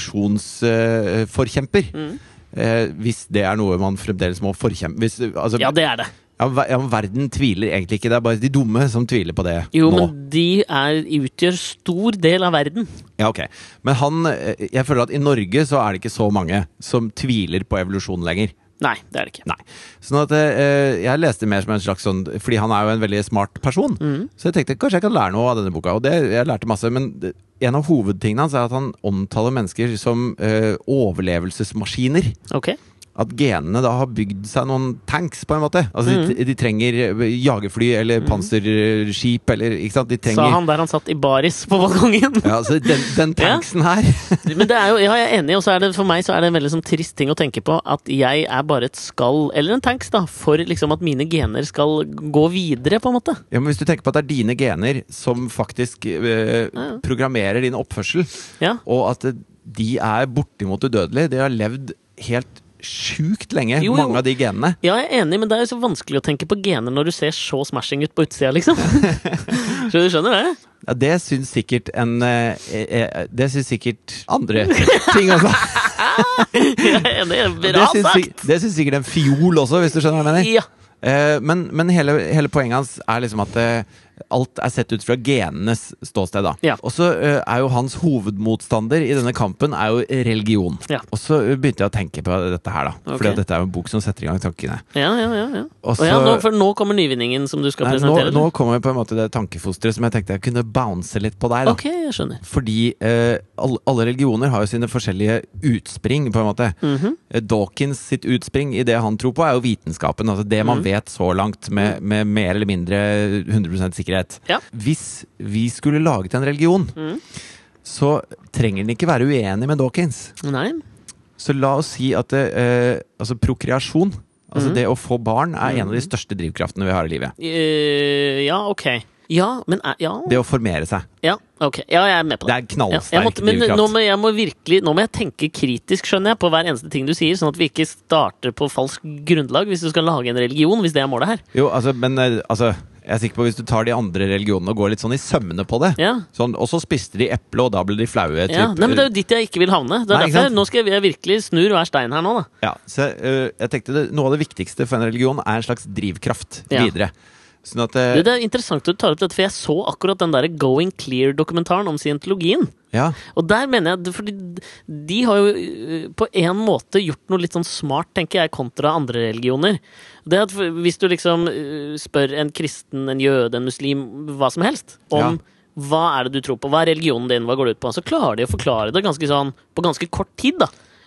S1: evolusjonsforkjemper. Eh, forkjemper.
S2: Mm.
S1: eh, hvis det er noe man fremdeles må forkjempe hvis, eh, altså,
S2: Ja, det er det.
S1: ja, ver- ja, men Verden tviler egentlig ikke, det er bare de dumme som tviler på det
S2: Jo,
S1: nå.
S2: men de er, utgjør stor del av verden.
S1: Ja, ok. Men han, eh, jeg føler at i Norge så er det ikke så mange som tviler på evolusjon lenger.
S2: Nei, det er det ikke.
S1: Nei. Sånn at eh, jeg leste mer som en slags sånn Fordi han er jo en veldig smart person.
S2: Mm.
S1: Så jeg tenkte kanskje jeg kan lære noe av denne boka. Og det, jeg lærte masse. Men det- en av hovedtingene hans er at han omtaler mennesker som eh, overlevelsesmaskiner.
S2: Ok,
S1: At genene da har bygd seg noen tanks, på en måte. Altså
S2: Mm.
S1: de, de trenger eh, jagerfly eller panserskip eller Ikke sant? De
S2: Sa
S1: trenger
S2: han der han satt i baris på balkongen.
S1: ja, altså den, den
S2: Ja.
S1: tanksen her
S2: Men det er jo, ja, jeg er enig, og så er det for meg så er det en veldig sånn trist ting å tenke på at jeg er bare et skall, eller en tanks, da, for liksom at mine gener skal gå videre, på en måte.
S1: ja, men Hvis du tenker på at det er dine gener som faktisk eh, programmerer din oppførsel,
S2: Ja.
S1: Og at eh, de er bortimot udødelige. De har levd helt sjukt lenge,
S2: Jo, jo.
S1: mange av de genene.
S2: Ja, jeg er enig, men det er jo så vanskelig å tenke på gener når du ser så smashing ut på
S1: [laughs]
S2: utsida, liksom. Så du skjønner det?
S1: Ja, det syns sikkert en eh, eh, eh, Det syns sikkert
S2: [laughs]
S1: andre ting også.
S2: Jeg er enig.
S1: Det
S2: Bra
S1: syns,
S2: sagt!
S1: sik- det syns sikkert en fiol også, hvis du skjønner hva jeg mener.
S2: Ja.
S1: Eh, men men hele, hele poenget hans er liksom at eh, alt er sett ut fra genenes ståsted. da
S2: Ja.
S1: Og så eh, er jo hans hovedmotstander i denne kampen er jo religion.
S2: Ja.
S1: Og så eh, begynte jeg å tenke på dette her, da.
S2: Ok.
S1: Fordi at dette er jo en bok som setter i gang tankene.
S2: Ja, ja, ja. ja.
S1: Og
S2: Og ja
S1: så-
S2: nå, for nå kommer nyvinningen som du skal
S1: Nei, nå,
S2: presentere?
S1: nå
S2: eller?
S1: kommer på en måte det tankefosteret som jeg tenkte jeg kunne bounce litt på deg. da.
S2: Ok, jeg skjønner.
S1: Fordi eh, alle, alle religioner har jo sine forskjellige utspring, på en måte.
S2: Mhm.
S1: Eh, Dawkins sitt utspring i det han tror på, er jo vitenskapen. Altså det
S2: Mm.
S1: man vet så langt, med, med mer eller mindre 100 sikkerhet.
S2: Ja. Mm.
S1: Hvis vi skulle laget en religion, så trenger den ikke være uenig med Dawkins.
S2: Nei.
S1: Så la oss si at det, eh, altså prokreasjon, altså
S2: Mm.
S1: det å få barn, er en av de største drivkraftene vi har i livet.
S2: Eh, ja, ok. Ja, men er- ja.
S1: Det å formere seg.
S2: ja, ok. Ja, jeg er med på det.
S1: Det er en
S2: Ja,
S1: knallsterk
S2: jeg måtte, men
S1: drivkraft.
S2: nå må, jeg må virkelig, nå må jeg tenke kritisk, skjønner jeg, på hver eneste ting du sier, sånn at vi ikke starter på falsk grunnlag hvis du skal lage en religion, hvis det er målet her.
S1: Jo, altså, men eh, altså, jeg er sikker på hvis du tar de andre religionene og går litt sånn i sømmene på det
S2: Ja.
S1: sånn, Og så spiste de eple, og da ble de flaue.
S2: Ja,
S1: typ. eh,
S2: nei, men Det er jo dit jeg ikke vil havne. Det er
S1: Nei, ikke
S2: derfor
S1: sant?
S2: jeg, Nå skal jeg, jeg virkelig snur hver stein her nå, da.
S1: Ja, så eh, jeg tenkte det, Noe av det viktigste for en religion er en slags drivkraft
S2: Ja.
S1: videre. Sånn at eh,
S2: Du, det er interessant at du tar opp dette, for jeg så akkurat den der Going Clear-dokumentaren om scientologien.
S1: Ja,
S2: Og der mener jeg, fordi de har jo øh, på en måte gjort noe litt sånn smart, tenker jeg, kontra andre religioner. Det at for- hvis du liksom øh, spør en kristen, en jøde, en muslim, hva som helst, om
S1: Ja.
S2: hva er det du tror på, hva er religionen din, hva går det ut på, så klarer de å forklare det ganske sånn, på ganske kort tid, da.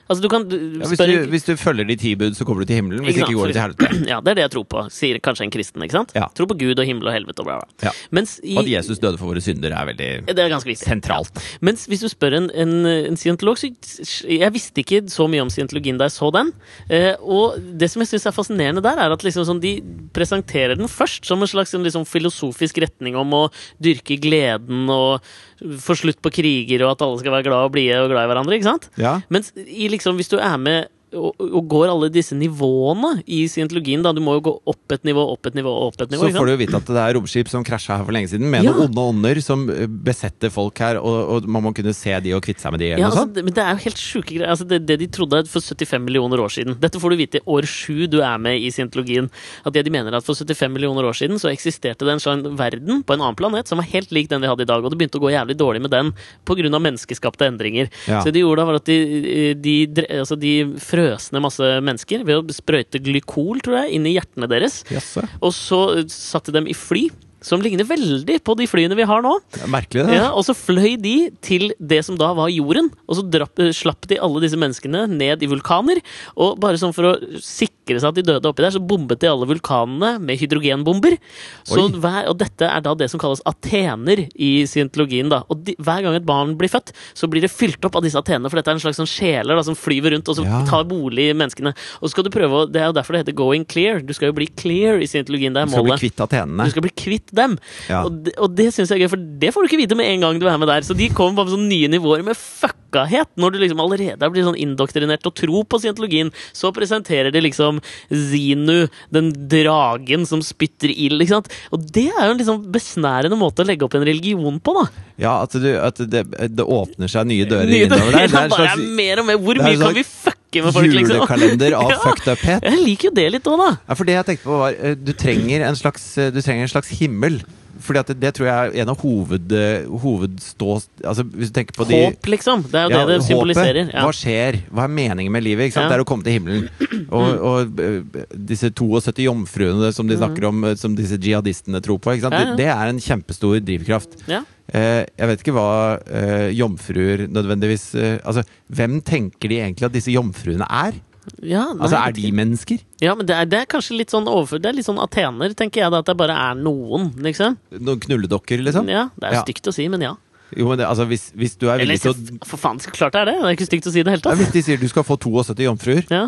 S2: Altså du kan du-
S1: ja hvis,
S2: spør
S1: du,
S2: en-
S1: hvis du følger de ti bud, så kommer du til himmelen. Hvis ikke
S2: Ikke sant,
S1: går du til
S2: for
S1: helvete.
S2: [clears throat] Ja, det er det jeg tror på, sier kanskje en kristen, ikke sant?
S1: Ja.
S2: Tror på Gud og himmel og helvete og bla, bla.
S1: Ja.
S2: Mens i,
S1: Og at Jesus døde for våre synder, er veldig
S2: det er ganske viktig.
S1: sentralt.
S2: Mens hvis du spør en, en, en scientolog, så jeg visste ikke så mye om scientologien da jeg så den. Eh, og det som jeg syns er fascinerende der, er at liksom sånn, de presenterer den først som en slags en liksom filosofisk retning om å dyrke gleden og få slutt på kriger og at alle skal være glad og blide og glad i hverandre. ikke sant?
S1: Ja.
S2: Mens i liksom, hvis du er med og, og går alle disse nivåene i scientologien. Da. Du må jo gå opp et nivå, opp et nivå, opp et nivå.
S1: Så
S2: ikke sant?
S1: får du jo vite at det er romskip som krasja her for lenge siden, med
S2: Ja.
S1: noen onde ånder som eh, besetter folk her, og, og man må kunne se de og sånn? kvitte seg med de, eller
S2: Ja,
S1: noe
S2: altså,
S1: sånt.
S2: det, men det er jo helt sjuke greier. Altså, det, det de trodde for 75 millioner år siden Dette får du vite i år sju du er med i scientologien. At det de mener er at For 75 millioner år siden så eksisterte det en sånn verden på en annen planet som var helt lik den vi hadde i dag. Og det begynte å gå jævlig dårlig med den pga. menneskeskapte endringer.
S1: Ja.
S2: Så det de gjorde da var at de, de, dre- altså, de frøs ned masse mennesker ved å sprøyte glykol tror jeg, inn i hjertene deres.
S1: Jaså.
S2: Og så eh, satte de dem i fly. Som ligner veldig på de flyene vi har nå.
S1: Det er Merkelig, det.
S2: altså- Ja, og så fløy de til det som da var jorden, og så drapp, eh, slapp de alle disse menneskene ned i vulkaner. Og bare sånn for å sikre seg at de døde oppi der, så bombet de alle vulkanene med hydrogenbomber. Så hver, og dette er da det som kalles atener i scientologien. da. Og de, hver gang et barn blir født, så blir det fylt opp av disse atenene, for dette er en slags sånn sjeler da, som flyver rundt og så
S1: Ja.
S2: tar bolig i menneskene. Og så skal du prøve, å, Det er jo derfor det heter going clear. Du skal jo bli clear i scientologien. Det er
S1: Du skal bli
S2: målet.
S1: kvitt atenene.
S2: Du skal bli kvitt dem.
S1: Ja.
S2: Og, det, og det synes jeg er gøy, for det får du ikke vite med en gang du er med der. Så de kommer på sånne nye nivåer med fuckahet, når du liksom allerede har blitt sånn indoktrinert og tro på scientologien. Så presenterer de liksom Zinu, den dragen som spytter ild, ikke sant. Og det er jo en liksom besnærende måte å legge opp en religion på, da.
S1: Ja, at, du, at det, det åpner seg nye dører
S2: Nye
S1: innover
S2: dører,
S1: der. Det er
S2: og
S1: en
S2: [laughs] bare er
S1: slags
S2: mer og mer. Hvor
S1: det er
S2: mye
S1: en
S2: kan vi
S1: slags
S2: fucke med folk, liksom?
S1: julekalender av
S2: [laughs] Ja.
S1: fucked up-het.
S2: Jeg liker jo det litt òg, da.
S1: Ja, for det jeg tenkte på var eh, Du trenger en slags, eh, du trenger en slags himmel. Fordi at det, det tror jeg er en av hoved, eh, hovedstå... Altså hvis du tenker på de
S2: Håp, liksom. Det er jo
S1: Ja,
S2: det det
S1: håpet.
S2: symboliserer. Ja.
S1: Hva skjer? Hva er meningen med livet? Ikke sant?
S2: Ja. Mm.
S1: Det er å komme til himmelen. Og, og eh, disse 72 jomfruene som de snakker om, eh, som disse jihadistene tror på, ikke sant?
S2: Ja, ja.
S1: Det, det er en kjempestor drivkraft.
S2: Ja.
S1: Eh, jeg vet ikke hva eh, jomfruer nødvendigvis eh, Altså, hvem tenker de egentlig at disse jomfruene er?
S2: Ja, nei,
S1: Altså, er de mennesker?
S2: Ja, men det er, det er kanskje litt sånn overfor Det er litt sånn atener, tenker jeg, da, at det bare er noen, liksom.
S1: Noen knulledokker, liksom?
S2: Ja, Det er
S1: Ja.
S2: stygt å si, men ja.
S1: Jo, men det, altså, hvis, hvis du er
S2: Eller
S1: villig til å
S2: for faen, så klart det er det! Det er ikke stygt å si i det hele
S1: ja, Hvis
S2: tatt.
S1: de sier du skal få 72 jomfruer
S2: Ja.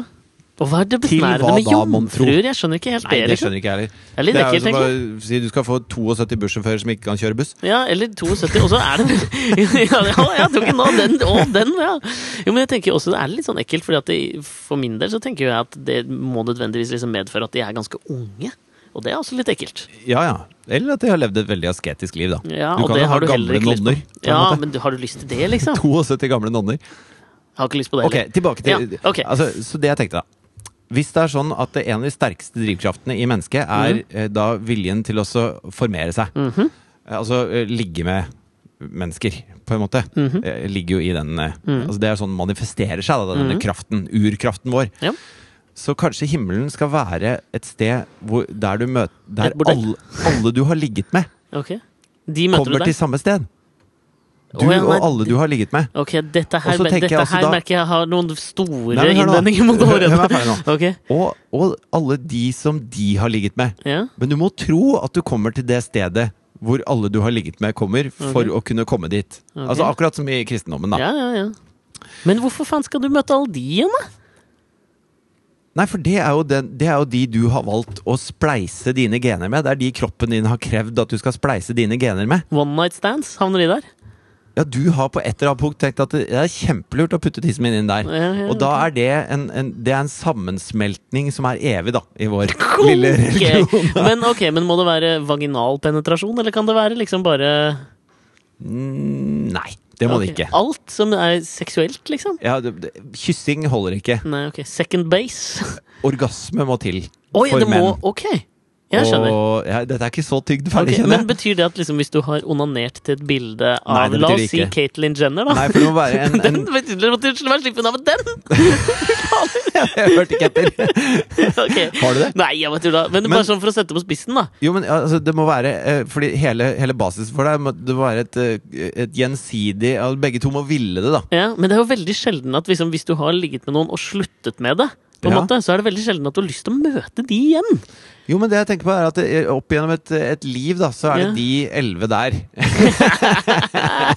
S2: Og hva er det
S1: Til
S2: besnærende
S1: hva
S2: med
S1: da, mon tro?
S2: jomfruer? Jeg skjønner ikke helt
S1: Nei,
S2: det.
S1: det
S2: liksom.
S1: skjønner ikke jeg heller.
S2: Det er litt
S1: jo
S2: ekkelt,
S1: som
S2: tenker jeg.
S1: å si du skal få 72 bussjåfører som ikke kan kjøre buss.
S2: Ja, eller 72, og så er det [laughs] Ja, ja, jeg tok nå den og den, ja! Jo, men jeg tenker også det er litt sånn ekkelt, fordi at det, for min del så tenker jeg at det må nødvendigvis liksom medføre at de er ganske unge. Og det er også litt ekkelt.
S1: Ja, ja. Eller at de har levd et veldig asketisk liv, da.
S2: Ja,
S1: du
S2: og
S1: kan
S2: det
S1: jo ha
S2: har du heller
S1: gamle
S2: ikke lyst på.
S1: nonner. på en
S2: Ja,
S1: måte.
S2: men du- har du lyst til det, liksom?
S1: 72 gamle nonner.
S2: Jeg har ikke lyst på det
S1: Ok,
S2: heller.
S1: tilbake til
S2: Ja, ok.
S1: altså, Så det jeg tenkte, da. Hvis det er sånn at det en av de sterkeste drivkraftene i mennesket
S2: Mhm.
S1: er eh, da viljen til også å formere seg, Eh, altså eh, ligge med mennesker, på en måte,
S2: Mhm.
S1: Eh, ligger jo i den eh, altså Det er sånn manifesterer seg, da,
S2: Mhm.
S1: denne kraften, urkraften vår.
S2: Ja.
S1: Så kanskje himmelen skal være et sted hvor, der du møter Der
S2: Et bordell.
S1: alle, alle du har ligget med,
S2: Ok. De møter
S1: kommer
S2: du
S1: til
S2: der?
S1: samme sted. Du
S2: Å, ja, nei,
S1: og alle du har ligget med.
S2: Ok, dette her,
S1: Og så tenker jeg
S2: dette
S1: også
S2: her
S1: da-
S2: merker jeg har noen store
S1: Nei, men hør nå.
S2: innvendinger mot
S1: Hør- hør meg
S2: håret.
S1: ferdig nå.
S2: Ok,
S1: Og, og alle de som de har ligget med.
S2: ja.
S1: Men du må tro at du kommer til det stedet hvor alle du har ligget med, kommer for å kunne komme dit. Altså akkurat som i kristendommen, da.
S2: Mhm. ja, ja, ja. Men hvorfor faen skal du møte alle de igjen, da?
S1: Nei, for det er, jo den, det er jo de du har valgt å spleise dine gener med. Det er de kroppen din har krevd at du skal spleise dine gener med.
S2: One night stands, havner de der?
S1: Ja, du har på et eller annet punkt tenkt at det er kjempelurt å putte tissen min inn der.
S2: Ja, ja,
S1: Og da er det en, en, det er en sammensmeltning som er evig, da, i
S2: [laughs]
S1: vår lille religion. [laughs]
S2: Ok, [laughs] Men ok, men må det være vaginal penetrasjon, eller kan det være liksom bare
S1: Nei, det må det
S2: Ok,
S1: ikke.
S2: Alt som er seksuelt, liksom?
S1: Ja, det, det, kyssing holder ikke.
S2: Nei, ok. Second base.
S1: Orgasme må til
S2: Oi,
S1: for
S2: det
S1: menn.
S2: må Ok, jeg skjønner.
S1: Og, ja, dette er ikke så tygd
S2: Ok,
S1: ferdig, kjenner
S2: men
S1: jeg.
S2: betyr det at liksom, hvis du har onanert til et bilde
S1: Nei,
S2: av
S1: det
S2: La
S1: betyr
S2: oss
S1: det
S2: si
S1: ikke.
S2: Caitlyn Jenner, da.
S1: Nei, for det må være
S2: [laughs]
S1: en,
S2: Den
S1: en
S2: betyr det måtte du være slippen av med den!
S1: [laughs]
S2: [laughs]
S1: Jeg hørte ikke etter. [laughs]
S2: Ok.
S1: Har du det?
S2: Nei, jeg vet jo da. Men, det er
S1: Men-
S2: bare sånn for å sette på spissen, da.
S1: Jo, men altså, det må være eh, Fordi hele, hele basisen for deg må, Det må være et, eh, et gjensidig ja, Begge to må ville det, da.
S2: Ja, men det er jo veldig sjelden at liksom, hvis du har ligget med noen og sluttet med det, på en
S1: Ja. [laughs]
S2: måte, så er det veldig sjelden at du har lyst til å møte de igjen.
S1: Jo, men det jeg tenker på er at det, opp gjennom et, et liv, da, så er det
S2: Ja.
S1: de elleve der [laughs]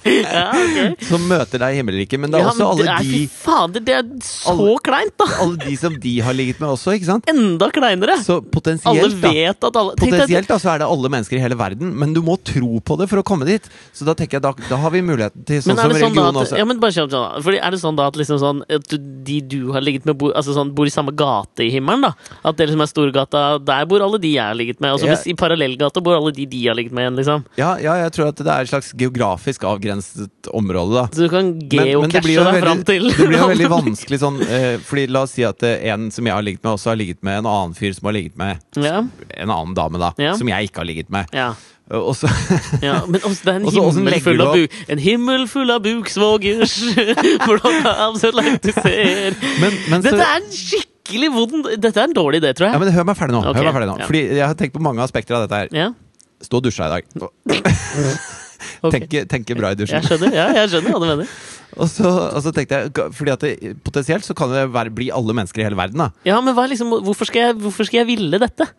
S2: Ja, ok.
S1: som møter deg i himmelriket. Men det er
S2: Ja,
S1: også
S2: men
S1: alle
S2: det er-
S1: de,
S2: Fy fader, det er så
S1: Alle-
S2: kleint, da!
S1: alle de som de har ligget med også, ikke sant?
S2: Enda kleinere!
S1: Så
S2: Alle
S1: potensielt, da.
S2: vet at alle Tenk deg at-
S1: Potensielt da, så er det alle mennesker i hele verden, men du må tro på det for å komme dit. Så da tenker jeg, da, da har vi muligheten til sånn
S2: Men
S1: som
S2: er det sånn da
S1: religion
S2: at,
S1: også.
S2: ja, men bare kjapt sånn da. Fordi er det sånn da at, liksom sånn, at du- de du har ligget med, bor, altså sånn, bor i samme gate i himmelen? da? At det liksom er Storgata, der bor alle de jeg har ligget med. Og så
S1: Ja.
S2: hvis i parallellgata bor alle de de har ligget med igjen, liksom.
S1: Ja, ja, jeg tror at det er et slags geografisk avgrenset område, da.
S2: Så du kan geocache
S1: jo
S2: deg
S1: veldig-
S2: fram til
S1: det blir jo veldig vanskelig sånn eh, Fordi la oss si at eh, en som jeg har ligget med, også har ligget med en annen fyr som har ligget med
S2: Ja,
S1: en annen dame, da.
S2: Ja.
S1: Som jeg ikke har ligget med.
S2: [laughs] ja,
S1: Og så [laughs]
S2: ja. Men også, det er en
S1: Og så- og så
S2: himmel
S1: legger
S2: full
S1: du
S2: av
S1: opp-
S2: buk En himmel full av buksvogers, [laughs] hvordan er det så langt du ser
S1: Men, men så,
S2: Dette er en skikkelig vond Dette er en dårlig idé, tror
S1: ja,
S2: jeg.
S1: men hør meg ferdig nå.
S2: Ok,
S1: Hør meg ferdig nå.
S2: ja.
S1: Fordi jeg har tenkt på mange aspekter av dette her.
S2: Ja,
S1: Stå og dusja i dag. [laughs]
S2: ok.
S1: Tenke, tenke bra i
S2: Jeg
S1: dusjen.
S2: skjønner ja, jeg skjønner hva du mener.
S1: Og så, og så tenkte jeg ga- Fordi at det, potensielt så kan det være, bli alle mennesker i hele verden, da.
S2: Ja, men hva er liksom, hvorfor, skal jeg, hvorfor skal jeg ville dette?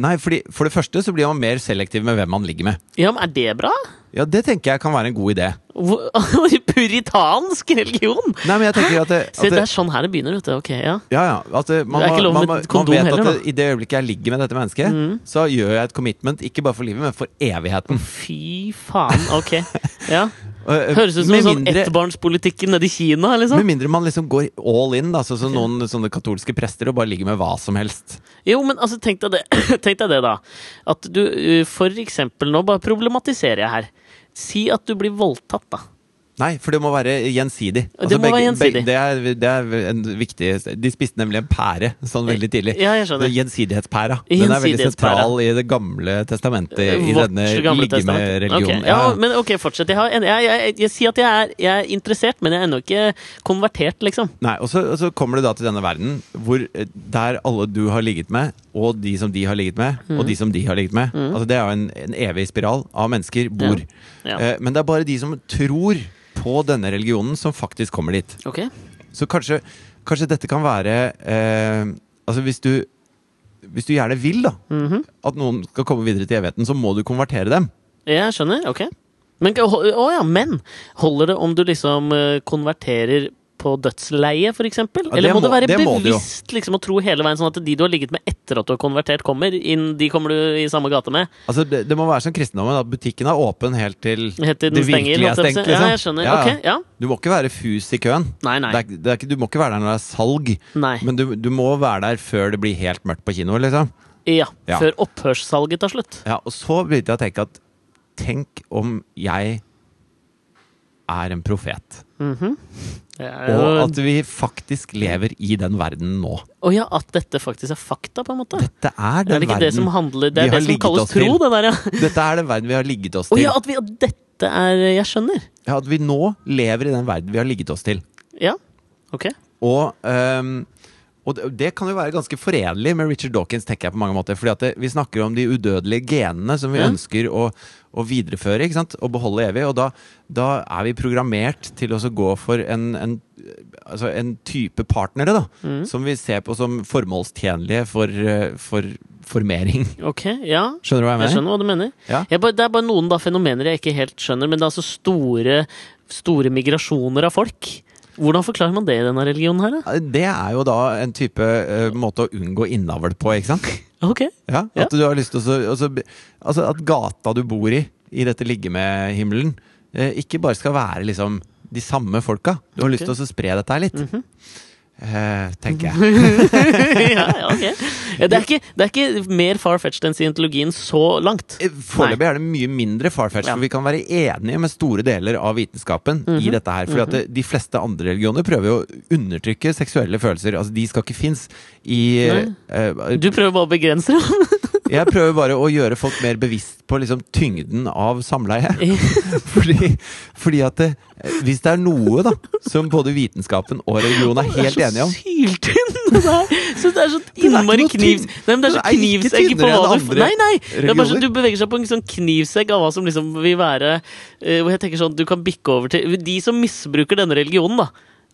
S1: Nei, fordi For det første så blir man mer selektiv med hvem man ligger med.
S2: Ja, men Er det bra?
S1: Ja, Det tenker jeg kan være en god idé.
S2: Hvor- [laughs] Puritansk religion!
S1: Nei, men jeg tenker at det,
S2: Se,
S1: at
S2: det
S1: det
S2: er sånn her det begynner. vet du, ok, ja
S1: Ja, ja. At det, man,
S2: Det er ikke
S1: må-
S2: lov
S1: man,
S2: med
S1: må-
S2: kondom
S1: man vet
S2: heller, Mm.
S1: at det, i det øyeblikket jeg ligger med dette mennesket, så gjør jeg et commitment, ikke bare for livet, men for evigheten.
S2: Fy faen, ok.
S1: [laughs]
S2: Ja.
S1: Eh,
S2: Høres ut som
S1: med
S2: sånn
S1: mindre-
S2: ettbarnspolitikken nede i Kina.
S1: Med
S2: liksom
S1: mindre man liksom går all in, da, sånn som noen sånne katolske prester, og bare ligger med hva som helst.
S2: Jo, men altså, tenk deg det, [clears throat] tenk deg det da. At du eh, for eksempel Nå bare problematiserer jeg her. Si at du blir voldtatt, da.
S1: Nei, for det må være gjensidig. Altså,
S2: Det må være gjensidig.
S1: det, er, det er en viktig De spiste nemlig en pære sånn veldig tidlig.
S2: Ja, jeg skjønner.
S1: Den Gjensidighetspæra. Den er veldig
S2: Gjensidighetspæra.
S1: sentral i Det gamle testamentet, i
S2: Vårt
S1: denne
S2: gamle testament.
S1: ligge-med-religionen.
S2: Ok, Ja, men ok, fortsett. Jeg, har en, jeg, jeg, jeg, jeg sier at jeg er, jeg er interessert, men jeg er ennå ikke konvertert, liksom.
S1: Nei, og så, og så kommer du da til denne verden hvor eh, der alle du har ligget med, og de som de har ligget med, og de som de har ligget med Altså Det er jo en, en evig spiral av mennesker bor.
S2: Mm. Ja.
S1: Eh, men det er bare de som tror på denne religionen, som faktisk kommer dit.
S2: Ok.
S1: Så kanskje, kanskje dette kan være eh, Altså hvis du hvis du gjerne vil da
S2: Mhm.
S1: at noen skal komme videre til evigheten, så må du konvertere dem.
S2: Jeg skjønner. Ok. Men, å å ja, men holder det om du liksom eh, konverterer på dødsleie, for eksempel?
S1: Ja,
S2: Eller
S1: det
S2: må det
S1: må-
S2: være
S1: det må det jo.
S2: bevisst liksom, å tro hele veien, sånn at de du har ligget med etter at du har konvertert, kommer? Inn, de kommer du i samme gate med?
S1: Altså Det, det må være som kristendommen, at butikken er åpen helt til
S2: Helt til den
S1: det
S2: stenger,
S1: virkelig er
S2: holdt jeg på å si.
S1: stengt. Liksom.
S2: Ja, jeg skjønner. Ok, ja.
S1: Du må ikke være fus i køen.
S2: Nei, nei.
S1: Det er, ikke- det er, ikke- du må ikke være der når det er salg,
S2: Nei.
S1: men du, du må være der før det blir helt mørkt på kino. Liksom.
S2: Ja.
S1: Ja.
S2: Før opphørssalget tar slutt.
S1: Ja, og så begynte jeg å tenke at tenk om jeg er en profet,
S2: Det er jo-
S1: og at vi faktisk lever i den verden nå.
S2: Å ja, at dette faktisk er fakta, på en måte?
S1: Dette er den
S2: er det
S1: verden
S2: ikke det som handler Det
S1: vi
S2: er
S1: har
S2: det som
S1: ligget
S2: kalles
S1: oss
S2: tro,
S1: til.
S2: det der, ja.
S1: Dette er den verden vi har ligget oss
S2: Å
S1: til.
S2: ja, at vi at dette er Jeg skjønner.
S1: Ja, at vi nå lever i den verden vi har ligget oss til.
S2: Ja. Ok.
S1: Og, ehm, og det, det kan jo være ganske forenlig med Richard Dawkins, tenker jeg på mange måter. Fordi at det, vi snakker om de udødelige genene som vi
S2: Ja.
S1: ønsker å, å videreføre ikke sant? og beholde evig. Og da, da er vi programmert til å så gå for en, en, altså en type partnere da,
S2: Mm.
S1: som vi ser på som formålstjenlige for, eh, for formering.
S2: Ok, Ja.
S1: Skjønner du hva jeg mener?
S2: Jeg skjønner hva du mener.
S1: Ja.
S2: Jeg bare, det er bare noen da fenomener jeg ikke helt skjønner, men det er altså store, store migrasjoner av folk. Hvordan forklarer man det i denne religionen her, da?
S1: Det er jo da en type eh, måte å unngå innavl på, ikke sant?
S2: Ok. [laughs]
S1: Ja,
S2: Ja.
S1: At du har lyst til å så- og så- Altså at gata du bor i, i dette ligge-med-himmelen, eh, ikke bare skal være liksom de samme folka. Du har lyst til å så spre dette her litt.
S2: Mhm.
S1: eh, tenker jeg.
S2: ja, ja, ok. Ja, det, er ikke, det er ikke mer far-fetched enn scientologien så langt.
S1: Eh, Foreløpig er det mye mindre farfetch,
S2: Ja. Mhm.
S1: for vi kan være enige med store deler av vitenskapen i dette her. For de fleste andre religioner prøver jo å undertrykke seksuelle følelser. Altså, de skal ikke finnes i eh,
S2: Du prøver bare å begrense det.
S1: Jeg prøver bare å gjøre folk mer bevisst på liksom tyngden av samleie. [laughs] Fordi, fordi at det, hvis det er noe da som både vitenskapen og religion er helt enige om
S2: Det er så syltynn! [laughs] Det der. Så det er så
S1: ikke
S2: innmari
S1: noe
S2: knivs...
S1: tynn.
S2: Nei, men det er så
S1: Den er ikke
S2: knivsegg på
S1: tynnere
S2: hva
S1: enn
S2: du
S1: andre
S2: Nei, nei! Det er bare så,
S1: religioner.
S2: du beveger seg på en sånn knivsegg av hva som liksom vil være eh, Hvor jeg tenker sånn, du kan bikke over til De som misbruker denne religionen, da.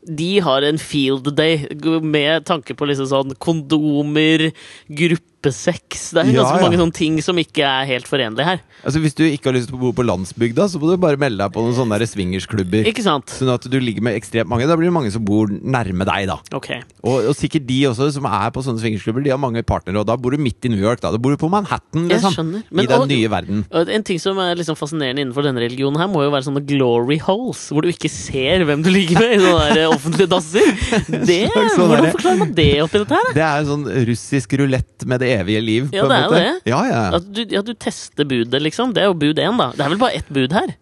S2: De har en field day g- med tanke på liksom sånn kondomer, grupper gruppesex. Det er
S1: Ja,
S2: ganske
S1: ja.
S2: mange sånne ting som ikke er helt forenlige her.
S1: Altså Hvis du ikke har lyst til å bo på landsbygda, så må du bare melde deg på noen sånne der swingersklubber.
S2: Ikke sant?
S1: Sånn at du ligger med ekstremt mange. Da blir det mange som bor nærme deg, da.
S2: Ok.
S1: Og, og sikkert de også som er på sånne swingersklubber, de har mange partnere, og da bor du midt i New York, da. Da bor du på Manhattan,
S2: Jeg
S1: liksom.
S2: skjønner.
S1: I
S2: Men-
S1: den
S2: og-
S1: nye verden.
S2: Og En ting som er liksom fascinerende innenfor denne religionen, her må jo være sånne glory holes, hvor du ikke ser hvem du ligger med i sånne der eh, offentlige
S1: [laughs]
S2: dasser. Det,
S1: slags sånn
S2: hvordan
S1: derre-
S2: forklarer man det oppi dette her? da?
S1: Det er jo sånn russisk rulett med det evige liv,
S2: Ja,
S1: på
S2: det er
S1: en
S2: jo
S1: måte.
S2: det.
S1: Ja, ja.
S2: At du, ja, du tester budet, liksom. Det er jo bud én, da. Det er vel bare ett bud her?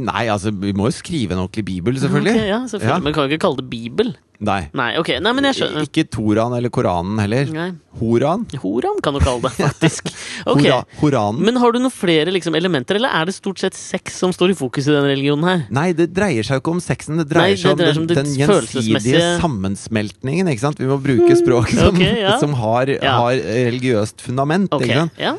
S1: Nei, altså, vi må jo skrive en ordentlig bibel, selvfølgelig.
S2: Ok, ja, selvfølgelig. Men kan jo ikke kalle det bibel.
S1: Nei.
S2: Nei, ok. Nei, men jeg skjønner.
S1: Ikke Toran eller Koranen heller.
S2: Nei.
S1: Horan?
S2: Horan kan du kalle det,
S1: [laughs]
S2: faktisk. Ok.
S1: Hora, horanen?
S2: Men har du noen flere liksom, elementer, eller er det stort sett sex som står i fokus i denne religionen her?
S1: Nei, det dreier seg jo ikke om sexen. Det dreier
S2: Nei, det
S1: seg om
S2: dreier
S1: den,
S2: seg om det
S1: den gjensidige
S2: følelsesmessige- Mm.
S1: sammensmeltningen. Ikke sant? Vi må bruke språk som,
S2: ok, ja.
S1: [laughs] som har,
S2: Ja.
S1: har religiøst fundament.
S2: Ok,
S1: Ikke sant?
S2: ja.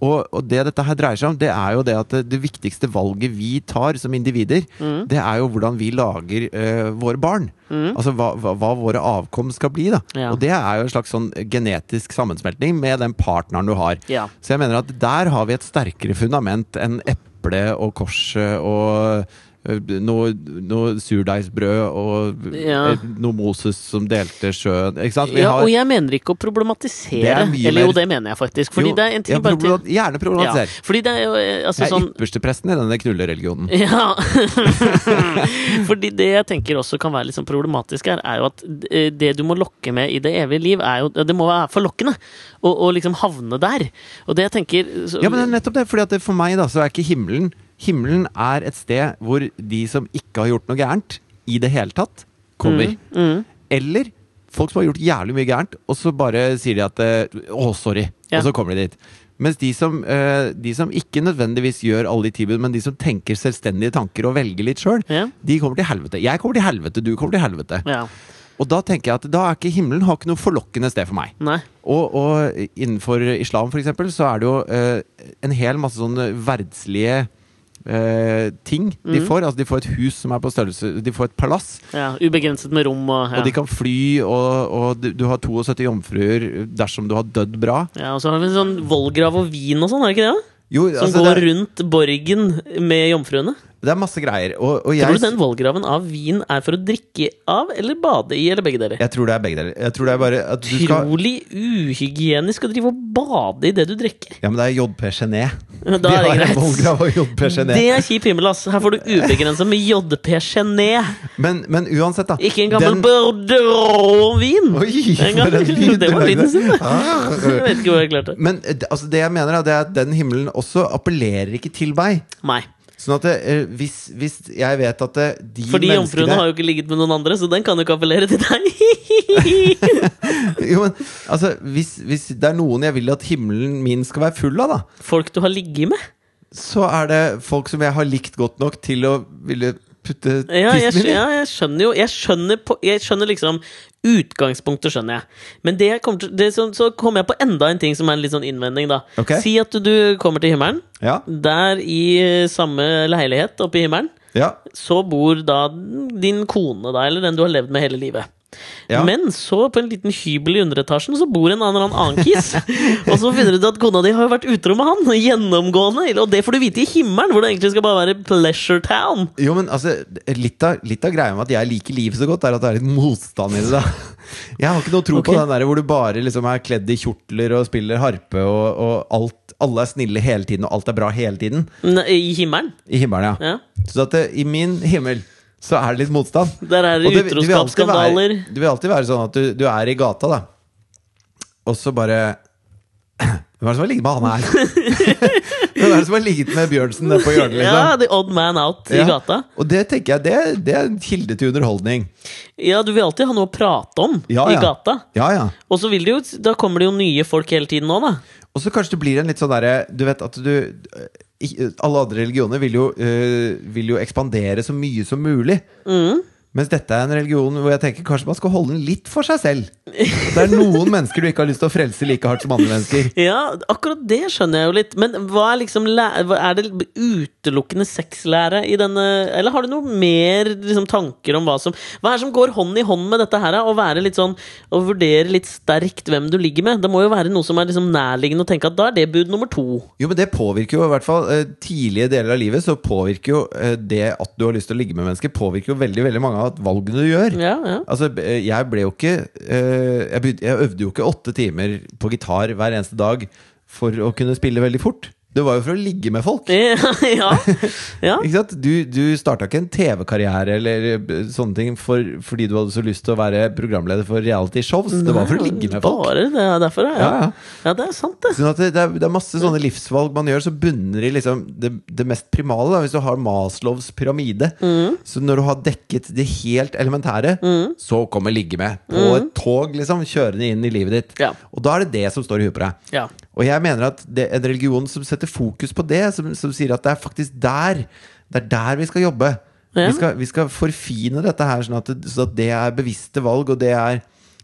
S1: Og, og det dette her dreier seg om, det er jo det at det, det viktigste valget vi tar som individer,
S2: Mm.
S1: det er jo hvordan vi lager eh, våre barn. Altså hva, hva, hva våre avkom skal bli, da.
S2: Ja.
S1: Og det er jo en slags sånn genetisk sammensmeltning med den partneren du har.
S2: Ja.
S1: Så jeg mener at der har vi et sterkere fundament enn eple og korset og eh, noe, noe surdeigsbrød og
S2: Ja.
S1: eh, noe Moses som delte sjøen. Ikke sant? Altså, Vi
S2: ja,
S1: har-
S2: og jeg mener ikke å
S1: Det
S2: problematisere.
S1: er mye
S2: Eller jo,
S1: mer-
S2: det mener jeg faktisk. Fordi
S1: Jo,
S2: det er en ting
S1: ja,
S2: bare til
S1: problemat- Gjerne
S2: ja,
S1: problematiser.
S2: Fordi det er jo eh, altså,
S1: Jeg er
S2: sånn [laughs]
S1: ypperstepresten i denne knullereligionen.
S2: Ja. [laughs] Fordi det jeg tenker også kan være litt sånn problematisk her, er jo at eh, det du må lokke med i det evige liv, er jo Det må være for lokkende å å liksom havne der. Og det jeg tenker så,
S1: Ja, men det er nettopp det, fordi at det, for meg da, så er ikke himmelen Himmelen er et sted hvor de som ikke har gjort noe gærent i det hele tatt, kommer.
S2: Mm,
S1: Eller folk som har gjort jævlig mye gærent, og så bare sier de at eh, Å, sorry.
S2: Ja.
S1: Og så kommer de dit. Mens de som, eh, de som ikke nødvendigvis gjør alle de tilbudene, men de som tenker selvstendige tanker og velger litt sjøl,
S2: Ja.
S1: de kommer til helvete. Jeg kommer til helvete, du kommer til helvete.
S2: Ja.
S1: Og da tenker jeg at da er ikke himmelen har ikke noe forlokkende sted for meg.
S2: Nei.
S1: Og, og innenfor islam, for eksempel, så er det jo eh, en hel masse sånne verdslige eh, ting de får. Altså, de får et hus som er på størrelse De får et palass,
S2: Ja, ubegrenset med rom og ja.
S1: og de kan fly, og, og du, du har 72 jomfruer dersom du har dødd bra.
S2: ja, Og så har vi en sånn vollgrav og vin og sånn, er det ikke det? da?
S1: Jo,
S2: Som
S1: altså,
S2: går
S1: det, er,
S2: rundt borgen med jomfruene.
S1: det er masse greier. Og, og
S2: Tror du
S1: jeg,
S2: den vollgraven av vin er for å drikke av eller bade i, eller begge deler?
S1: jeg tror det er begge deler. Jeg tror det er bare at du skal
S2: Utrolig uhygienisk å drive og bade i det du drikker.
S1: ja, men det er JP Gené.
S2: Da
S1: De
S2: er det
S1: har en
S2: greit.
S1: vollgrav og JP Gené.
S2: Det er kjip himmel, ass. Her får du ubegrensa med JP Gené.
S1: Men, men uansett, da.
S2: Ikke en gammel
S1: den-
S2: bordeaux-vin.
S1: Oi,
S2: En
S1: for en
S2: gammel-
S1: lyd
S2: [laughs] Det var
S1: du lagde.
S2: lyden sin, det. Jeg vet ikke hvor jeg klarte det.
S1: Men eh, d- altså, det jeg mener er, det er at den himmelen også appellerer ikke til meg.
S2: Nei.
S1: Sånn at eh, hvis, hvis jeg vet at eh, de
S2: Fordi jomfruene
S1: menneskene
S2: har jo ikke ligget med noen andre, så den kan jo ikke appellere til deg.
S1: [laughs] jo, men, altså, hvis, hvis det er noen jeg vil at himmelen min skal være full av, da,
S2: [laughs] Folk du har ligget med.
S1: så er det folk som jeg har likt godt nok til å ville putte
S2: Ja, jeg,
S1: tissen min i.
S2: ja, jeg skjønner jo Jeg skjønner, på, jeg skjønner liksom Utgangspunktet skjønner jeg. Men det jeg kommer til, det som, så kommer jeg på enda en ting som er en litt sånn innvending. da
S1: Ok.
S2: Si at du, du kommer til himmelen.
S1: Ja,
S2: Der i eh, samme leilighet oppe i himmelen
S1: ja,
S2: så bor da din kone, da, eller den du har levd med hele livet.
S1: Ja.
S2: Men så, på en liten hybel i underetasjen, så bor en annen annen
S1: [laughs]
S2: kis. og så finner du ut at kona di har jo vært utro med han, gjennomgående. Og det får du vite i himmelen, hvor det egentlig skal bare være pleasure town.
S1: Jo, men altså, litt av, litt av greia med at jeg liker livet så godt, er at det er litt motstand i det. da. [laughs] Jeg har ikke noe tro
S2: Ok.
S1: på den der hvor du bare liksom er kledd i kjortler og spiller harpe, og, og alt, alle er snille hele tiden, og alt er bra hele tiden.
S2: Nei, I himmelen.
S1: I himmelen, ja.
S2: Ja.
S1: Så at det, i min himmel så er det litt motstand.
S2: Der er det
S1: Og det- det vil alltid
S2: utroskapsskandaler.
S1: være- Det vil alltid være sånn at du, du er i gata, da, og så bare [clears throat] Hvem er det som har ligget med
S2: [laughs]
S1: han her? Hvem er det som har ligget med Bjørnsen nede på hjørnet? liksom?
S2: Ja, the odd man out i
S1: Ja.
S2: gata.
S1: Og det tenker jeg, det, det er en kilde til underholdning.
S2: Ja, du vil alltid ha noe å prate om
S1: Ja,
S2: i
S1: ja.
S2: gata.
S1: Ja, ja.
S2: Og så vil det jo, da kommer det jo nye folk hele tiden nå, da.
S1: Og så kanskje det blir en litt sånn derre Du vet at du eh, i- Alle andre religioner vil jo, eh, vil jo ekspandere så mye som mulig. Mens dette er en religion hvor jeg tenker kanskje man skal holde den litt for seg selv. Det er noen mennesker du ikke har lyst til å frelse like hardt som andre mennesker.
S2: Ja, akkurat det skjønner jeg jo litt. Men hva er liksom læ- hva- Er det utelukkende sexlære i denne Eller har du noe mer liksom, tanker om hva som Hva er det som går hånd i hånd med dette her? da? Å være litt sånn Å vurdere litt sterkt hvem du ligger med. Det må jo være noe som er liksom nærliggende å tenke at da er det bud nummer to.
S1: Jo, men det påvirker jo i hvert fall eh, tidlige deler av livet. Så påvirker jo eh, det at du har lyst til å ligge med mennesker, påvirker jo veldig veldig mange av valgene du gjør.
S2: Ja, ja. [laughs]
S1: Altså, eh, jeg ble jo ikke eh, jeg, begynte, jeg øvde jo ikke åtte timer på gitar hver eneste dag for å kunne spille veldig fort. Det var jo for å ligge med folk. [laughs]
S2: Ja. ja.
S1: Ikke sant? Du, du starta ikke en TV-karriere eller eh, sånne ting for, fordi du hadde så lyst til å være programleder for reality-shows. Det var for å ligge med folk.
S2: Bare det er derfor, ja.
S1: Ja, ja.
S2: ja, det er sant, det.
S1: Sånn at det, det, er, det er masse sånne livsvalg man gjør, så bunner i liksom det, det mest primale. Da. Hvis du har Maslows pyramide,
S2: Mm.
S1: så når du har dekket det helt elementære, så kommer ligge med på et tog, liksom, kjørende inn i livet ditt.
S2: Mm. Ja.
S1: Og da er det det som står i huet på deg.
S2: Ja.
S1: Og jeg mener at det, en religion som setter fokus på det, som, som sier at det er faktisk der Det er der vi skal jobbe.
S2: Ja.
S1: Vi, skal, vi skal forfine dette her, sånn at, det- sånn at det er bevisste valg, og det er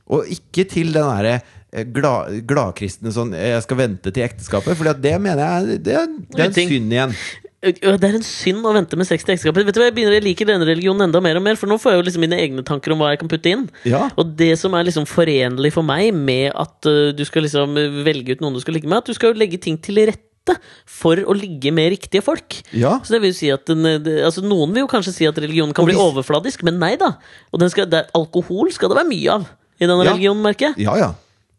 S1: Og ikke til den derre eh, gla- gladkristne sånn 'jeg skal vente til ekteskapet', for det mener jeg er- det er, det er en
S2: Uting.
S1: synd igjen.
S2: Ja, Det er en synd å vente med sex til ekteskapet. Vet du hva, Jeg begynner, jeg liker denne religionen enda mer og mer, for nå får jeg jo liksom mine egne tanker om hva jeg kan putte inn.
S1: Ja.
S2: Og det som er liksom forenlig for meg med at øh, du skal liksom øh, velge ut noen du skal ligge med, at du skal jo legge ting til rette for å ligge med riktige folk.
S1: Ja.
S2: Så det vil jo si at den, øh, det- altså Noen vil jo kanskje si at religionen kan
S1: Og
S2: bli
S1: hvis-
S2: overfladisk, men nei da. Og den skal, det er, alkohol skal det være mye av i denne
S1: Ja.
S2: religionen, merker jeg.
S1: Ja, ja.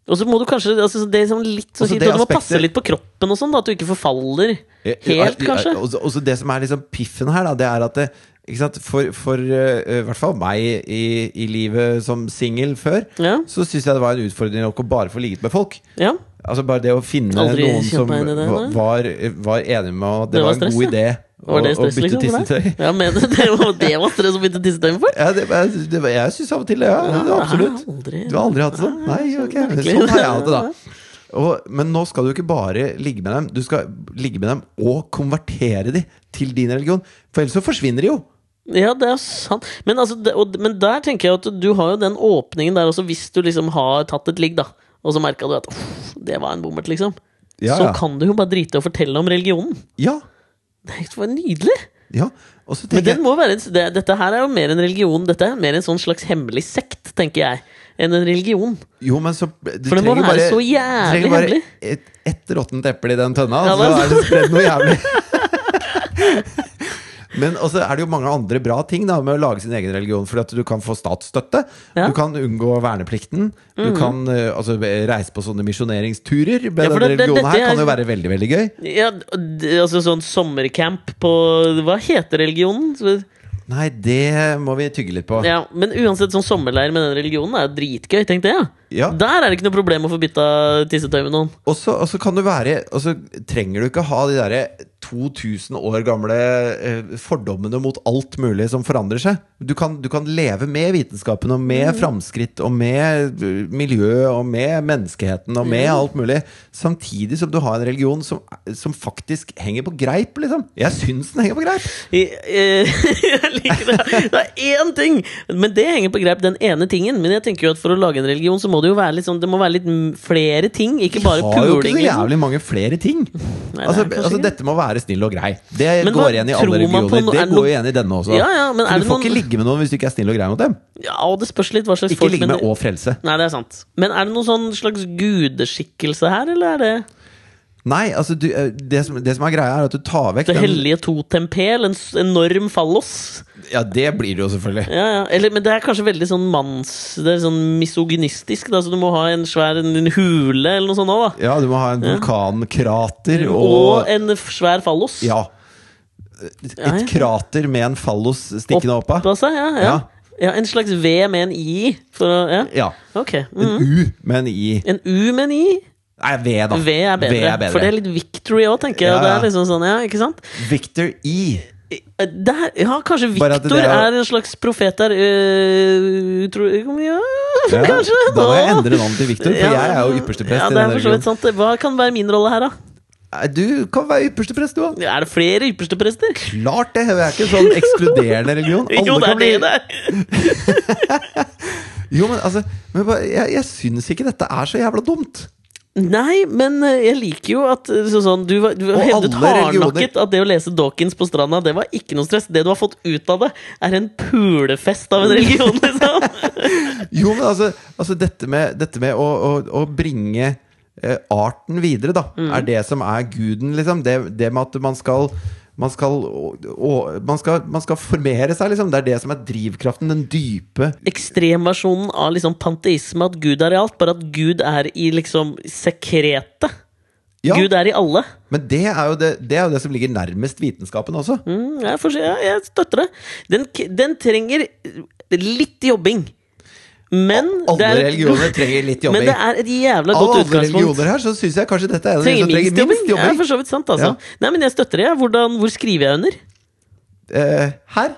S2: Og så må du kanskje altså, det er sånn litt, sånn,
S1: Også det
S2: du må
S1: aspektet-
S2: passe litt på kroppen og sånn, da, at du ikke forfaller
S1: Eh,
S2: helt, kanskje.
S1: Og så- og så det som er liksom piffen her, da, det er at det, ikke sant? For, for eh, i hvert fall meg i, i livet som singel før,
S2: Ja.
S1: så syns jeg det var en utfordring nok å bare få ligget med folk.
S2: Ja.
S1: Altså Bare det å finne
S2: Aldri
S1: noen
S2: kjent
S1: som
S2: meg inn i det,
S1: va-
S2: nei.
S1: var, var enig med meg at det,
S2: Det var
S1: var en
S2: stress,
S1: god
S2: ja.
S1: idé å,
S2: Var det
S1: å
S2: stress,
S1: bytte
S2: liksom? for deg?
S1: tissetøy.
S2: Ja, men [laughs] det var det var stress å bytte tissetøy for?
S1: Ja, det, jeg, det, var- jeg syns av og til det. Ja,
S2: Ja,
S1: absolutt.
S2: aldri-
S1: Du har aldri hatt det sånn? Nei,
S2: så
S1: ok.
S2: merkelig.
S1: Sånn har jeg hatt det, da. Og, men nå skal du ikke bare ligge med dem, du skal ligge med dem og konvertere dem til din religion. For ellers så forsvinner de jo.
S2: Ja, det er sant. Men, altså, det, og, men der tenker jeg at du har jo den åpningen der også, hvis du liksom har tatt et ligg, da. Og så merka du at uff, det var en bommert, liksom.
S1: Ja,
S2: så
S1: ja.
S2: kan du jo bare drite i å fortelle om religionen.
S1: Ja.
S2: Det er jo bare nydelig!
S1: ja. Og så
S2: Men
S1: tenker
S2: den
S1: jeg
S2: må være en, det, dette her er jo mer en religion. Dette er mer en sånn slags hemmelig sekt, tenker jeg, enn en religion.
S1: Jo, men så du
S2: For det må
S1: trenger
S2: være
S1: bare-
S2: så jævlig
S1: Du trenger bare
S2: hemmelig.
S1: et, et råttent eple i den tønna,
S2: Ja,
S1: og så
S2: men-
S1: er det spredd noe jævlig. [laughs] Men også er det jo mange andre bra ting da med å lage sin egen religion. Fordi at du kan få statsstøtte.
S2: Ja. Mhm.
S1: Du kan unngå verneplikten. Du kan eh, altså, reise på sånne misjoneringsturer. Med
S2: Ja, for
S1: denne
S2: det- det-
S1: religionen
S2: dette
S1: her
S2: er-
S1: kan jo være veldig, veldig gøy.
S2: Ja, d- altså sånn sommercamp på Hva heter religionen? Så-
S1: Nei, det må vi tygge litt på.
S2: Ja, Men uansett, sånn sommerleir med den religionen er jo dritgøy. Tenk det, ja.
S1: Ja.
S2: Der er det ikke noe problem å få bytta tissetøy med noen.
S1: Og så, og så kan du være Og så trenger du ikke ha de derre 2000 år gamle eh, fordommene mot alt mulig som forandrer seg. Du kan, du kan leve med vitenskapen og med framskritt og med eh, miljø og med menneskeheten og med alt mulig, samtidig som du har en religion som, som faktisk henger på greip, liksom. Jeg syns den henger på greip!
S2: I- [laughs] eh, Jeg liker det. Det er én ting! Men det henger på greip, den ene tingen. Men jeg tenker jo at for å lage en religion, så må det jo være litt sånn Det må være litt m- flere ting, ikke bare
S1: har jo ikke
S2: puling.
S1: så
S2: liksom.
S1: jævlig mange flere ting.
S2: det er
S1: altså,
S2: kanskje
S1: altså
S2: ikke det.
S1: Dette må være snill og grei. Det
S2: Men hva
S1: går igjen i
S2: tror
S1: alle
S2: man på
S1: religioner.
S2: no-
S1: Det
S2: er det
S1: går
S2: noen-
S1: igjen i denne også.
S2: Ja, ja, men er
S1: For
S2: det
S1: du får
S2: noen-
S1: ikke ligge med noen hvis du ikke er snill og grei mot dem.
S2: Ja, og det spørs litt hva slags
S1: Ikke
S2: folk
S1: ligge
S2: men-
S1: med og frelse.
S2: Nei, det er sant. Men er det noen sånn slags gudeskikkelse her, eller er det
S1: Nei, altså du, eh, det, som, det som er greia, er at du tar vekk
S2: Det
S1: den-
S2: hellige totempel? En s- enorm fallos?
S1: Ja, det blir det jo selvfølgelig.
S2: Ja, ja. Eller, men det er kanskje veldig sånn manns... Det er sånn misogynistisk, da, så du må ha en svær en, en hule eller noe sånt òg, da.
S1: Ja, du må ha en vulkankrater
S2: Og,
S1: og
S2: en f- svær fallos.
S1: Ja.
S2: Ja, ja.
S1: Et krater med en fallos stikkende opp av.
S2: Oppå seg, ja, ja.
S1: Ja.
S2: ja. En slags V med en I. For, å- ja.
S1: Ja.
S2: Ok.
S1: En
S2: Mm.
S1: U med en I.
S2: En U med en I.
S1: Nei, V, da.
S2: V er bedre. For det er litt victory òg, tenker jeg.
S1: Ja,
S2: og Det
S1: ja.
S2: er liksom sånn, ja, ikke sant?
S1: Victor E.
S2: Der, Eh, ja, kanskje
S1: Bare at det
S2: Victor
S1: er
S2: er,
S1: jo-
S2: en slags profet der. øh, tror, ja,
S1: Ja,
S2: kanskje.
S1: Da må jeg
S2: Åh.
S1: endre navnet til Victor, for jeg er jo ypperste prest
S2: ja,
S1: i
S2: det er
S1: denne
S2: for så vidt
S1: religionen.
S2: sant. Hva kan være min rolle her, da?
S1: Nei, Du kan være ypperste prest, du òg.
S2: Er det flere ypperste prester?
S1: Klart det! Det er ikke sånn ekskluderende religion. Alle
S2: [laughs] Jo, det
S1: kan
S2: er
S1: bli-
S2: det det er.
S1: Jo, men altså men bare- Jeg, jeg syns ikke dette er så jævla dumt.
S2: Nei, men eh, jeg liker jo at eh, så sånn, du, var- du
S1: Og alle
S2: hevdet hardnakket
S1: religioner.
S2: at det å lese Dawkins på stranda, det var ikke noe stress. Det du har fått ut av det, er en pulefest av en
S1: [laughs]
S2: religion, liksom.
S1: Jo, men altså, altså dette med, dette med å, å, å bringe eh, arten videre, da,
S2: Mm.
S1: er det som er guden, liksom. Det, det med at man skal man skal, å, å, man, skal, man skal formere seg, liksom. Det er det som er drivkraften. Den dype
S2: Ekstremversjonen av liksom panteisme, at Gud er i alt, bare at Gud er i liksom sekretet.
S1: Ja,
S2: Gud er i alle.
S1: men det er, jo det, det er jo det som ligger nærmest vitenskapen også.
S2: Mm, jeg, får, se- ja, jeg støtter det. Den, k- den trenger litt jobbing. Men
S1: Alle
S2: det er,
S1: religioner trenger litt
S2: [laughs] Men
S1: jobbing.
S2: det er et jævla
S1: Av
S2: godt
S1: alle
S2: utgangspunkt.
S1: religioner her, så syns jeg kanskje dette er en av de
S2: Trenger
S1: som
S2: minst
S1: trenger
S2: jobbing.
S1: minst
S2: Ja,
S1: jobbing.
S2: for så vidt sant, altså.
S1: Ja.
S2: Nei, men jeg støtter det. jeg. Hvordan, hvor skriver jeg under?
S1: Eh, her.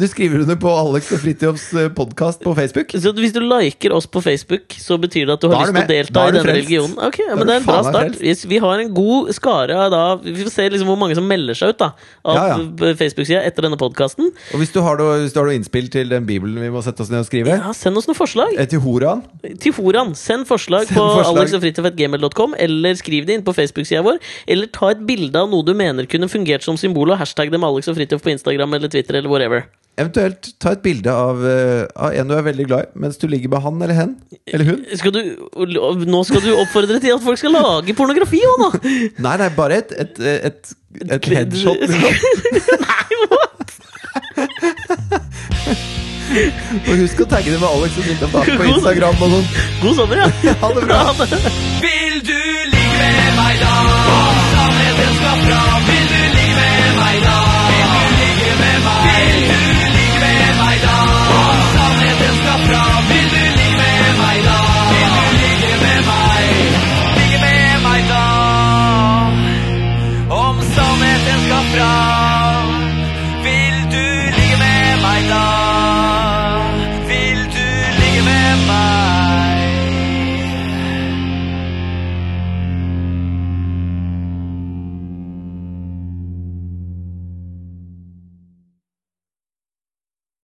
S1: du skriver under på Alex og Fritjofs podkast på Facebook.
S2: Så hvis du liker oss på Facebook, så betyr det at du
S1: Da
S2: har
S1: er du
S2: lyst til å
S1: med.
S2: delta
S1: Da er
S2: i
S1: du
S2: denne
S1: frelst.
S2: religionen? Ok, ja,
S1: er
S2: men
S1: du
S2: det er en bra
S1: faen meg
S2: start.
S1: frelst.
S2: Hvis vi har en god skare av da Vi får se liksom hvor mange som melder seg ut da av
S1: Ja, ja.
S2: Facebook-sida etter denne podkasten.
S1: Og hvis du har noe, hvis du har noe innspill til den bibelen vi må sette oss ned og skrive,
S2: Ja, send oss noen forslag.
S1: eh, til horaen
S2: Til foran, send forslag
S1: Send
S2: på
S1: forslag.
S2: alexogfritjof.gmail.com, eller skriv det inn på Facebook-sida vår, eller ta et bilde av noe du mener kunne fungert som symbol, og hashtag det med Alex og Fritjof på Instagram eller Twitter eller whatever.
S1: Eventuelt ta et bilde av, eh, av en du er veldig glad i, mens du ligger med han eller hen. Eller hun.
S2: Skal du, nå skal du oppfordre til at folk skal lage pornografi òg, nå!
S1: Nei, nei, bare et, et, et, et headshot.
S2: [laughs]
S1: Liksom.
S2: Nei, what?
S1: Og husk å tagge det med Alex og Fridtjof da, på Instagram og sånn. [laughs]
S2: God sommer, ja!
S1: Ha det bra!
S2: Ha det.
S5: Vil du ligge med meg da?